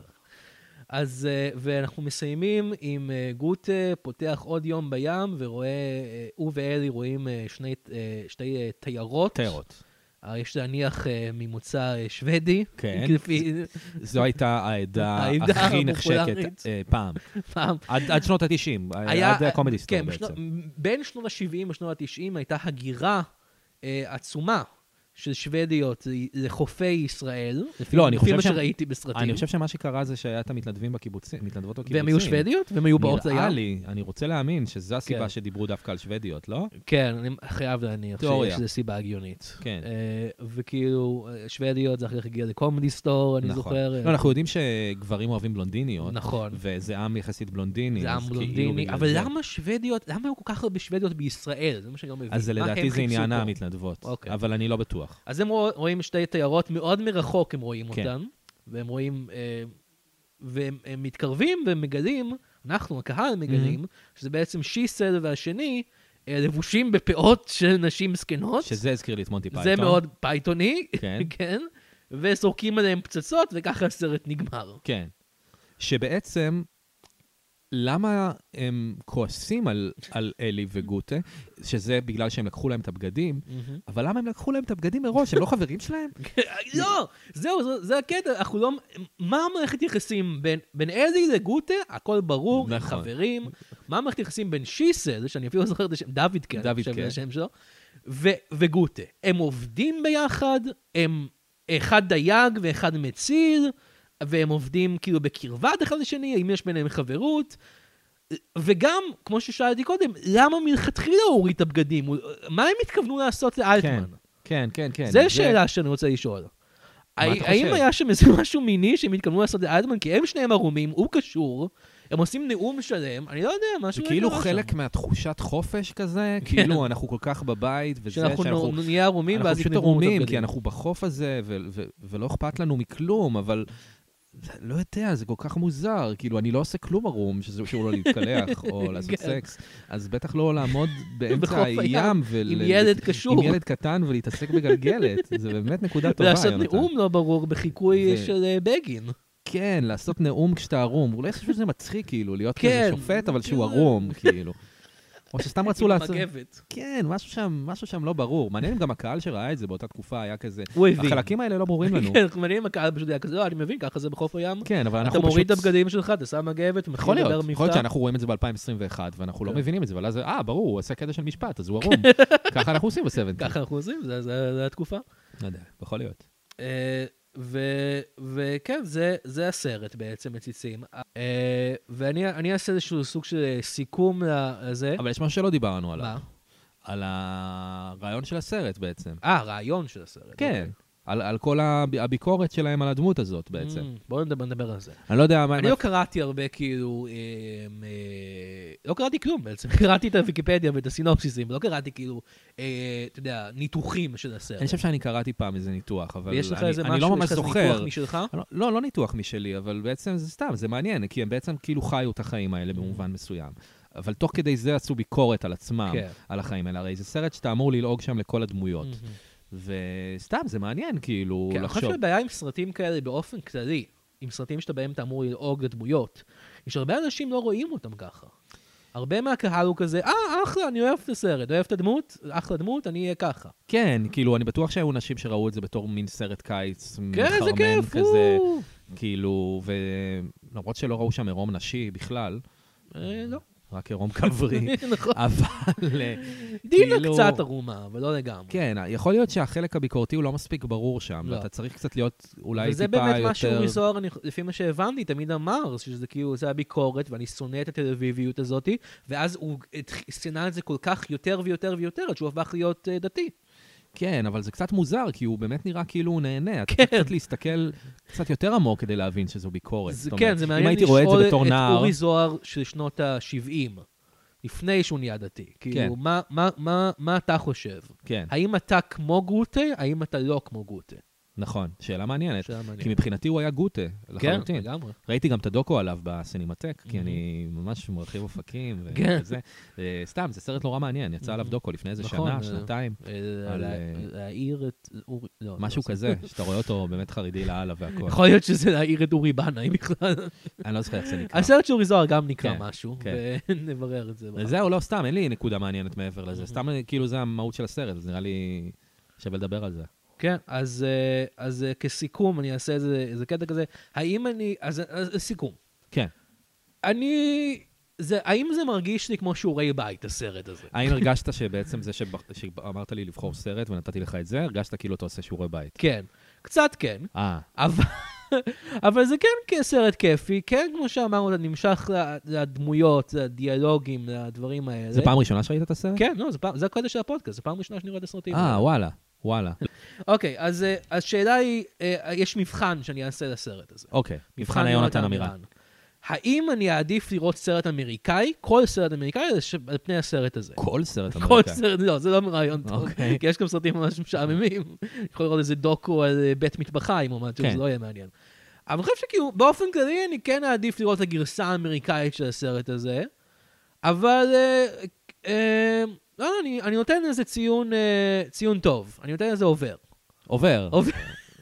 אז, אה, ואנחנו מסיימים עם אה, גוטה פותח עוד יום בים, ורואה, אה, הוא ואלי רואים אה, שני, אה, שתי אה, תיירות.
טרות.
אה, יש להניח אה, ממוצא אה, שוודי.
כן.
לפי
זו הייתה העדה
העדה
הכי
הפופולרית.
נחשקת אה, פעם.
פעם.
עד עד שנות ה-90, עד הקומדי סטור
כן, בשנות-
בעצם.
בין שנות ה-70 לשנות ה-90 הייתה הגירה אה, עצומה של שוודיות לחופי ישראל. לפי-
לא, אני
לפי
חושב
מה
שהם-
שראיתי בסרטים.
אני חושב שמה שקרה זה שהיה את המתנדבים בקיבוצים, מתנדבות בקיבוצים.
והם היו שוודיות? והם היו באות
נראה
לים?
לי, אני רוצה להאמין שזו
כן.
הסיבה שדיברו דווקא על שוודיות, לא?
כן, אני חייב להניח
תיאוריה.
שיש לזה סיבה הגיונית.
כן.
אה, וכאילו, אה, שוודיות זה אחרי כך הגיע לקומדי סטור, אני
נכון.
זוכר. אה,
לא, אנחנו יודעים שגברים אוהבים בלונדיניות,
נכון.
וזה עם יחסית בלונדיני.
זה
אז
עם
כאילו
בלונדיני,
בגלל
אבל
זה-
למה שוודיות, למה היו כל כך הרבה שוודיות בישראל? זה מה שאני לא מבין.
אז זה
מה הם
לדעתי זה
חיפשו
עניין
פה?
המתנדבות,
אוקיי.
אבל אני לא בטוח.
אז הם רוא- רואים שתי תיירות מאוד מרחוק, הם רואים
כן.
אותן, והם רואים, אה, והם הם מתקרבים והם מגלים, אנחנו, הקהל, מגלים,
Mm-hmm.
שזה בעצם שיסל והשני אה, לבושים בפאות של נשים זקנות.
שזה הזכיר לי את מונטי פייתון.
אוקיי. זה מאוד פייתוני,
כן.
כן, וזורקים עליהם פצצות, וככה הסרט נגמר.
כן. שבעצם, למה הם כועסים על, על אלי וגוטה, שזה בגלל שהם לקחו להם את הבגדים, אבל למה הם לקחו להם את הבגדים מראש? הם לא חברים שלהם?
לא, זהו, זה- זה הקטע, אנחנו לא... מה המערכת יחסים בין- בין אלי לגוטה? הכל ברור, הם
נכון.
חברים. מה המערכת יחסים בין שיסל, שאני אפילו לא זוכר את השם, דוד כן, אני
דוד
חושב
כן.
זה השם שלו, ו- וגוטה. הם עובדים ביחד, הם אחד דייג ואחד מציל, והם עובדים כאילו בקרבת אחד לשני, האם יש ביניהם חברות? וגם, כמו ששאלתי קודם, למה מלכתחילה הוא הוריד את הבגדים? הוא- מה הם התכוונו לעשות
כן,
לאלטמן?
כן, כן, כן.
זו שאלה שאני רוצה לשאול.
מה
הא-
אתה
האם
חושב?
היה שם איזה משהו מיני שהם התכוונו לעשות לאלטמן? כי הם שניהם ערומים, הוא קשור, הם עושים נאום שלם, אני לא יודע, משהו...
זה כאילו
קרה
חלק
שם. כן.
מהתחושת חופש כזה, כאילו אנחנו כל כך בבית, וזה
שאנחנו
שאנחנו...
נו- נהיה ערומים
אנחנו
ואז
פשוט
יגנבו לנו את
ערומים, כי
הבגדים.
אנחנו בחוף הזה, ו- ו- ולא אכפת לנו מכלום, אבל לא יודע, זה כל כך מוזר. כאילו, אני לא עושה כלום ערום, שזה שהוא לא להתקלח או לעשות
כן.
סקס, אז בטח לא לעמוד
בחוף
באמצע
הים,
הים ול...
עם ילד קשור.
עם ילד קטן ולהתעסק בגלגלת. זה באמת נקודה טובה,
ולעשות
יונתן.
נאום לא ברור בחיקוי
זה-
של אה, בגין.
כן, לעשות נאום כשאתה ערום. אולי חשבו שזה מצחיק, כאילו, להיות
כן.
כזה שופט, אבל שהוא ערום, כאילו. או שסתם רצו
עם
לעשות...
מגבת.
כן, משהו שם, משהו שם לא ברור. מעניין אם גם הקהל שראה את זה באותה תקופה היה כזה...
הוא הבין.
החלקים האלה לא ברורים לנו.
כן, אנחנו מעניינים הקהל פשוט היה כזה, לא, אני מבין, ככה זה בחוף הים.
כן, אבל
אתה
אנחנו פשוט...
מוריד את הבגדים שלך, אתה שם מגבת, מתחיל
יכול
לדבר
להיות, יכול להיות
מבטא.
שאנחנו רואים את זה ב-2021, ואנחנו לא
כן.
מבינים את זה, אבל אז, אה, ברור, הוא עשה קטע של משפט, אז הוא ערום. ככה אנחנו עושים בסבנטי.
ככה אנחנו עושים, זה- זה זה התקופה.
לא יודע, יכול להיות.
אה, ו- וכן, זה, זה הסרט בעצם, מציצים. אה, ואני אני אעשה איזשהו סוג של אה, סיכום לזה.
אבל יש משהו שלא דיברנו עליו.
מה?
על הרעיון של הסרט בעצם.
אה, אוקיי. הרעיון של הסרט.
כן, על, על כל הב- הביקורת שלהם על הדמות הזאת
אוקיי.
בעצם.
Mm, בואו נדבר, נדבר על זה.
אני לא יודע מה...
אני לא קראתי הרבה, כאילו, אמ, אה, לא קראתי כלום בעצם. קראתי את הוויקיפדיה ואת הסינופסיסים, לא קראתי כאילו, אה, אתה יודע, ניתוחים של הסרט.
אני חושב שאני קראתי פעם איזה ניתוח, אבל
ויש לך
אני,
איזה
אני
משהו,
לא ממש
יש לך איזה ניתוח
זוכר.
משלך?
לא, לא, לא ניתוח משלי, אבל בעצם זה סתם, זה מעניין, כי הם בעצם כאילו חיו את החיים האלה במובן מסוים. אבל תוך כדי זה עשו ביקורת על עצמם,
כן.
על החיים האלה. הרי זה סרט שאתה אמור ללעוג שם לכל הדמויות.
Mhm.
וסתם, זה מעניין כאילו
כן, אני חושב
לחשוב.
שהבעיה עם סרטים כאלה באופן כללי, עם סרטים שבהם אתה אמור ללעוג לדמויות, יש הרבה אנשים לא רואים אותם ככה. הרבה מהקהל הוא כזה, אה, אחלה, אני אוהב את הסרט, אוהב את הדמות, אחלה דמות, אני אהיה ככה.
כן, כאילו, אני בטוח שהיו נשים שראו את זה בתור מין סרט קיץ
כן, איזה
מחרמן
כיף,
כזה,
או.
כאילו, ולמרות שלא ראו שם עירום נשי בכלל,
אה, לא.
רק עירום גברי,
נכון.
אבל אה,
דינה
כאילו-
קצת ערומה, אבל לא לגמרי.
כן, יכול להיות שהחלק הביקורתי הוא לא מספיק ברור שם,
לא.
ואתה צריך קצת להיות אולי טיפה
וזה
יותר...
באמת מה שאורי זוהר, אני- לפי מה שהבנתי, תמיד אמר, שזה כאילו, זה הביקורת, ואני שונא את התל אביביות הזאת, ואז הוא התח- שנא את זה כל כך יותר ויותר ויותר, עד שהוא הפך להיות אה, דתי.
כן, אבל זה קצת מוזר, כי הוא באמת נראה כאילו הוא נהנה. אתה
כן.
צריך קצת להסתכל קצת יותר עמוק כדי להבין שזו ביקורת.
זה-
זאת אומרת,
כן, זה מעניין
אם הייתי רואה את
לשאול
זה בתור נער...
את אורי זוהר של שנות ה-70, לפני שהוא נהיה דתי. כאילו, מה- מה- מה- מה אתה חושב?
כן,
האם אתה כמו גוטה, האם אתה לא כמו גוטה?
נכון, שאלה מעניינת.
שאלה
כי
מעניינת.
מבחינתי הוא היה גוטה,
כן,
לחלוטין.
לגמרי.
ראיתי גם את הדוקו עליו בסינמטק, כי
Mhm.
אני ממש מרחיב אופקים
כן.
וכזה. אה, סתם, זה סרט נורא מעניין, יצא עליו
Mhm.
דוקו לפני איזה
נכון, אה,
שנה, שנתיים,
אה,
על,
לה-
אה,
להעיר את אורי... לא,
משהו
לא עושה.
כזה, שאתה רואה אותו באמת חרדי לאללה והכול.
יכול להיות שזה להעיר את אורי בנאי בכלל.
אני לא זוכר איך זה נקרא.
הסרט של אורי זוהר גם נקרא
כן,
משהו,
כן.
ונברר את זה.
זהו, לא, סתם, אין לי נקודה מעניינת מעבר לזה.
Mhm.
סתם, אה, כאילו, זה המהות של הסרט, אז נראה לי שווה לדבר על זה.
כן, אז, אה, אז אה, כסיכום, אני אעשה איזה, איזה קטע כזה. האם אני... אז, אה, אז סיכום.
כן.
אני... זה, האם זה מרגיש לי כמו שיעורי בית, הסרט הזה?
האם הרגשת שבעצם זה שבח- שאמרת לי לבחור סרט ונתתי לך את זה, הרגשת כאילו אתה עושה שיעורי בית?
כן. קצת כן,
אה,
אבל, אבל זה כן סרט כיפי, כן, כמו שאמרנו, אתה נמשך ל- לדמויות, לדיאלוגים, לדברים האלה.
זה פעם ראשונה שראית את הסרט?
כן, לא, זה, פעם, זה הקטע של הפודקאסט, זו פעם ראשונה שאני רואה את הסרטים. האלה.
אה, וואלה, וואלה.
אוקיי, אז אה, השאלה היא, אה, יש מבחן שאני אעשה לסרט הזה.
אוקיי, מבחן היונתן אמירן.
האם אני אעדיף לראות סרט אמריקאי, כל סרט אמריקאי, על ש- על פני הסרט הזה?
כל סרט
כל
אמריקאי.
סרט, לא, זה לא רעיון טוב,
אוקיי.
כי יש גם סרטים ממש משעממים. יכול לראות איזה דוקו על אה, בית מטבחיים או משהו,
כן.
זה לא יהיה מעניין. אבל אני חושב שכאילו, באופן כללי אני כן אעדיף לראות את הגרסה האמריקאית של הסרט הזה, אבל אה, אה, לא, אני, אני נותן לזה ציון, אה, ציון טוב, אני נותן לזה עובר.
עובר.
עובר,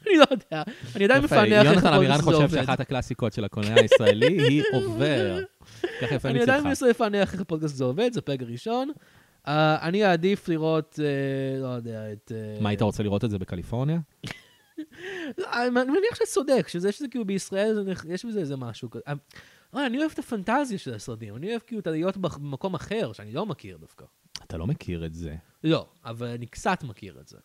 אני לא יודע, אני עדיין
אוקיי. יפה,
מפענח איך
יונתן
הכל
אמירן
זה
חושב
עובד.
שאחת הקלאסיקות של הקולנוע הישראלי היא עובר. ככה יפה
אני עדיין
מצדך.
מנסה לפענח איך הפודקאסט הזה עובד, זה פרק ראשון. אה, אני אעדיף לראות, אה, לא יודע, את... אה,
מה, היית רוצה לראות את זה בקליפורניה?
לא, אני מניח שאתה צודק, שזה שזה כאילו בישראל, זה נכ- יש בזה איזה משהו כזה. אה, אה, אני אוהב את הפנטזיה של הסרטים, אני אוהב כאילו את הלהיות בח- במקום אחר, שאני לא מכיר דווקא.
אתה לא מכיר את זה.
לא, אבל אני קצת מכיר את זה.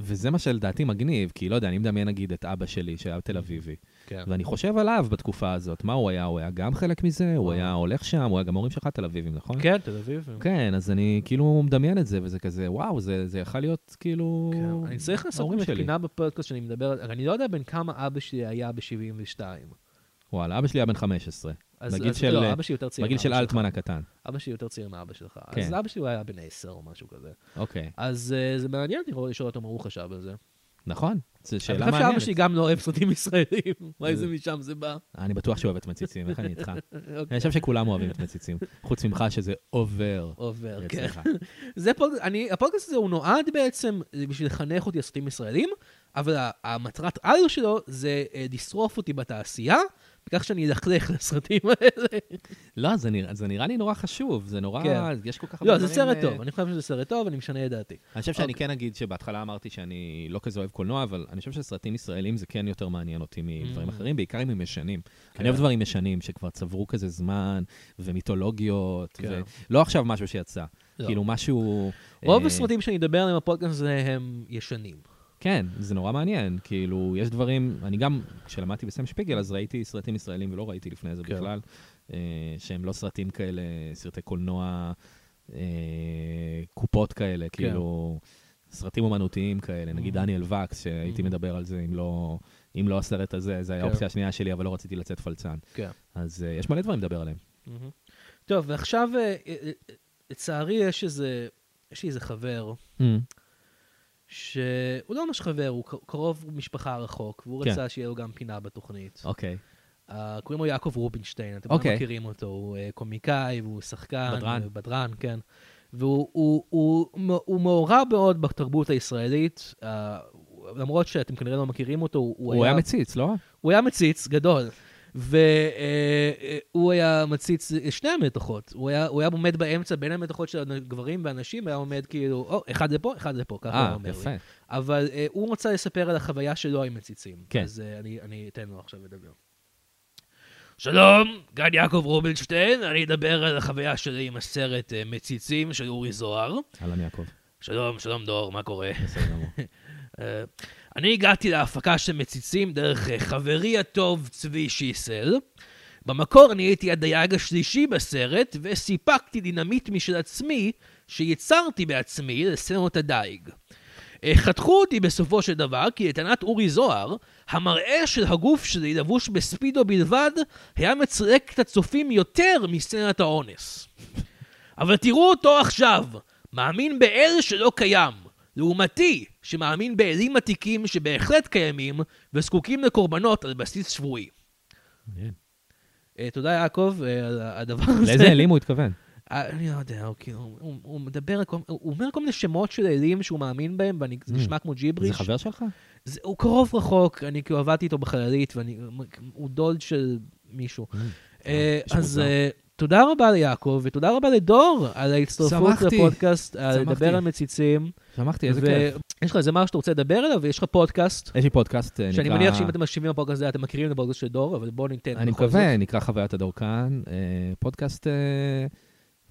וזה מה שלדעתי מגניב, כי לא יודע, אני מדמיין נגיד את אבא שלי, שהיה תל אביבי,
כן.
ואני חושב עליו בתקופה הזאת, מה הוא היה? הוא היה גם חלק מזה, הוא היה הולך שם, הוא היה גם הורים שלך תל אביבים, נכון?
אה. כן, תל אביב.
כן, אז אני כאילו מדמיין את זה, וזה כזה, וואו, זה זה יכול להיות כאילו...
כן, אני צריך לעשות
ההורים
באמת
שלי.
פינה בפודקאסט שאני מדבר, על- אני לא יודע בין כמה אבא שלי היה ב-72.
וואלה, אבא שלי היה בן 15.
אז,
בגיל
אז
של-
לא, אבא שלי יותר צעיר.
בגיל
מאבא
של
שלך.
אלטמן הקטן.
אבא שלי יותר צעיר מאבא שלך.
כן.
אז אבא שלי הוא היה בן 10 או משהו כזה.
אוקיי.
אז אה, זה מעניין לראות- לשאול אותו מה הוא חשב על זה.
נכון, זו שאלה
אני חושב
מעניינת.
שאבא שלי גם לא אוהב סרטים ישראלים. אולי זה משם זה בא.
אני בטוח שהוא אוהב את מציצים, איך אני איתך?
אוקיי.
אני חושב שכולם אוהבים את מציצים, חוץ ממך שזה עובר.
עובר, כן.
אצלך.
זה פודקאסט, אני, הפודקאסט הזה הוא נועד בעצם אה, בשביל לחנך אותי על סרטים ישראלים, אבל ה- המטרת על שלו זה אה, לשרוף אותי בתעשייה, בכך שאני אלכלך לסרטים האלה.
לא, זה נראה- זה נראה לי נורא חשוב, זה נורא...
כן.
יש כל כך הרבה
לא,
דברים...
זה סרט
אה,
טוב, אני חושב שזה סרט טוב, אני משנה את דעתי.
אני חושב שאני
אוקיי.
כן אגיד שבהתחלה אמרתי שאני לא כזה אוהב קולנוע, אבל אני חושב שסרטים ישראלים זה כן יותר מעניין אותי מדברים
Mm.
אחרים, בעיקר אם הם ישנים.
כן.
אני אוהב דברים ישנים שכבר צברו כזה זמן, ומיתולוגיות,
כן.
ולא עכשיו משהו שיצא.
לא.
כאילו משהו...
רוב
אה,
הסרטים שאני אדבר עליהם בפודקאסט הזה הם ישנים.
כן, זה נורא מעניין. כאילו, יש דברים, אני גם, כשלמדתי בסם שפיגל, אז ראיתי סרטים ישראלים ולא ראיתי לפני זה
כן.
בכלל, אה, שהם לא סרטים כאלה, סרטי קולנוע אה, קופות כאלה,
כן.
כאילו, סרטים אומנותיים כאלה, נגיד
Mhm.
דניאל וקס, שהייתי
Mhm.
מדבר על זה, אם לא, אם לא הסרט הזה, זו
כן.
הייתה האופציה השנייה שלי, אבל לא רציתי לצאת פלצן.
כן.
אז אה, יש מלא דברים לדבר עליהם.
מהמם. טוב, ועכשיו, אה, אה, אה, לצערי, יש איזה, יש לי איזה חבר, שהוא לא ממש חבר, הוא ק- קרוב משפחה רחוק, והוא
כן.
רצה שיהיה לו גם פינה בתוכנית.
אוקיי.
אה, קוראים לו יעקב רובינשטיין, אתם okay.
אוקיי.
מכירים אותו, הוא אה, קומיקאי והוא שחקן.
בדרן.
בדרן, כן. והוא הוא, הוא, הוא, הוא מעורב מאוד בתרבות הישראלית, אה, למרות שאתם כנראה לא מכירים אותו, הוא,
הוא היה מציץ, לא?
הוא היה מציץ גדול, והוא היה מציץ שני המתחות. הוא היה, הוא היה עומד באמצע בין המתחות של הגברים והנשים, היה עומד כאילו, או, אחד לפה, אחד לפה, ככה הוא
אה,
אומר
יפה.
לי. אבל אה, הוא רצה לספר על החוויה שלו עם מציצים.
כן.
אז אה, אני, אני אתן לו עכשיו לדבר. שלום, כאן יעקב רובינשטיין, אני אדבר על החוויה שלי עם הסרט אה, מציצים של אורי זוהר.
אהלן יעקב,
שלום, שלום דור, מה קורה?
בסדר גמור.
אה, אני הגעתי להפקה של מציצים דרך אה, חברי הטוב צבי שיסל. במקור אני הייתי הדייג השלישי בסרט, וסיפקתי דינמיט משל עצמי, שיצרתי בעצמי לסצנות הדייג. אה, חתכו אותי בסופו של דבר, כי לטענת אורי זוהר, המראה של הגוף שלי לבוש בספידו בלבד, היה מצלק את הצופים יותר מסצנת האונס. אבל תראו אותו עכשיו, מאמין באל שלא קיים, לעומתי, שמאמין באלים עתיקים שבהחלט קיימים, וזקוקים לקורבנות על בסיס שבועי.
מעניין.
אה, תודה, יעקב, אה, על הדבר הזה.
לאיזה אלים הוא התכוון?
אה, אני לא יודע, הוא כאילו, הוא הוא מדבר, על כל- הוא הוא אומר כל מיני שמות של אלים שהוא מאמין בהם, ואני- זה נשמע כמו
Mm. זה
ג'יבריש.
חבר שלך?
זה- הוא קרוב רחוק, אני כאילו עבדתי איתו בחללית, ואני, הוא דולד של מישהו. אה,
נשמע
אז
מוזר.
אה, תודה רבה ליעקב, ותודה רבה לדור על ההצטרפות
שמחתי.
לפודקאסט, על
שמחתי.
לדבר על מציצים.
שמחתי, איזה כיף.
ויש לך איזה משהו שאתה רוצה לדבר עליו, ויש לך פודקאסט,
יש לי פודקאסט, אה, נקרא...
שאני מניח שאם אתם מקשיבים לפודקאסט הזה, אתם מכירים את הפודקאסט של דור, אבל בואו ניתן
אני
בכל
מקווה,
זאת.
נקרא חוויית הדורקן. אה, פודקאסט, אה,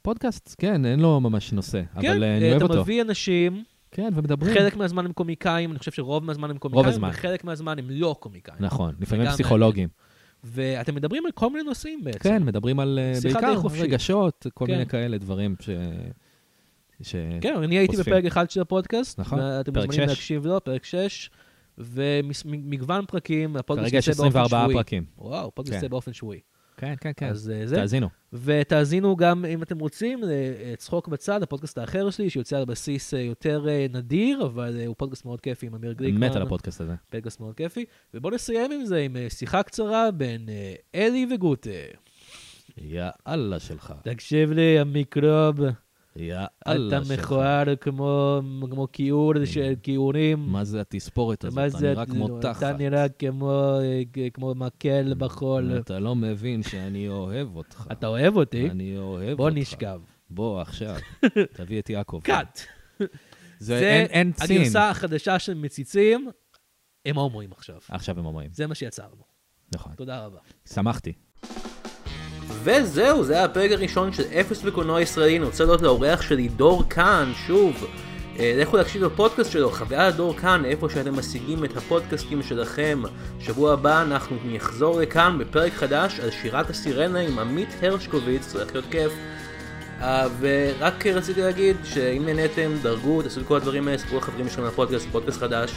פודקאסט, כן, אין לו ממש נושא, אבל אה, אני
אה,
אוהב
אתה
אותו.
מביא אנשים,
כן, ומדברים.
חלק מהזמן הם קומיקאים, אני חושב שרוב מהזמן הם קומיקאים,
הזמן.
וחלק מהזמן הם לא קומיקאים.
נכון, לפעמים
וגם-
פסיכולוגים.
ואתם מדברים על כל מיני נושאים בעצם.
כן, מדברים על אה,
שיחה די
בעיקר
חופשית.
רגשות, כל
כן.
מיני כאלה דברים ש... ש-
כן, אני הייתי
אוספים.
בפרק אחד של הפודקאסט,
נכון,
ואתם
פרק
מוזמנים
שש.
להקשיב לו, פרק 6, ומגוון פרקים, הפודקאסט
כרגע יש
יוצא באופן
24
שבועי.
פרקים.
וואו, הפודקאסט יוצא
כן.
באופן שבועי.
כן, כן, כן.
אז אה, זה.
תאזינו.
ותאזינו גם, אם אתם רוצים, לצחוק בצד, הפודקאסט האחר שלי, שיוצא על בסיס אה, יותר אה, נדיר, אבל אה, הוא פודקאסט מאוד כיפי עם אמיר
אני
גליקמן.
מת על הפודקאסט הזה.
פודקאסט מאוד כיפי. ובואו נסיים עם זה, עם אה, שיחה קצרה בין אה, אלי וגוטה.
יאללה שלך.
תקשיב לי, המיקרוב, אתה
יאללה שלך.
מכוער כמו כמו כיעור של כיעורים.
מה זה התספורת הזאת?
מה
אתה
זה,
נראה כמו תחת.
אתה נראה כמו, אה, כמו מקל בחול.
אתה לא מבין שאני אוהב אותך.
אתה אוהב אותי?
אני אוהב אותך.
בוא נשכב.
בוא עכשיו, תביא את יעקב.
קאט.
זה אין- אין צין.
הגרסה החדשה של מציצים, הם הומואים עכשיו.
עכשיו הם אומרים,
זה מה שיצרנו.
נכון.
תודה רבה.
שמחתי.
וזהו, זה היה הפרק הראשון של אפס בקולנוע ישראלי. אני רוצה להודות לאורח שלי, דור כאן, שוב. אה, לכו להקשיב לפודקאסט שלו, חוויה לדור כאן, איפה שאתם משיגים את הפודקאסטים שלכם. שבוע הבא אנחנו נחזור לכאן בפרק חדש על שירת הסירנה עם עמית הרשקוביץ, הולך להיות כיף. אה, ורק רציתי להגיד שאם נהניתם, דרגו, תעשו את כל הדברים האלה, ספרו לחברים שלכם לפודקאסט, פודקאסט חדש.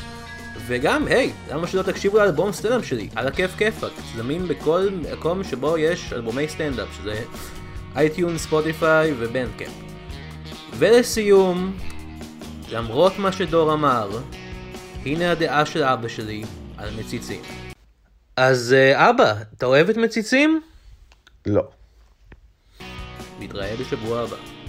וגם, היי, למה שלא תקשיבו לאלבום סטנדאפ שלי? על הכיף כיפאק, זמין בכל מקום שבו יש אלבומי סטנדאפ, שזה אייטיון, ספוטיפיי ובנדקאפ. ולסיום, למרות מה שדור אמר, הנה הדעה של אבא שלי על מציצים. אז אה, אבא, אתה אוהב את מציצים?
לא.
נתראה בשבוע הבא.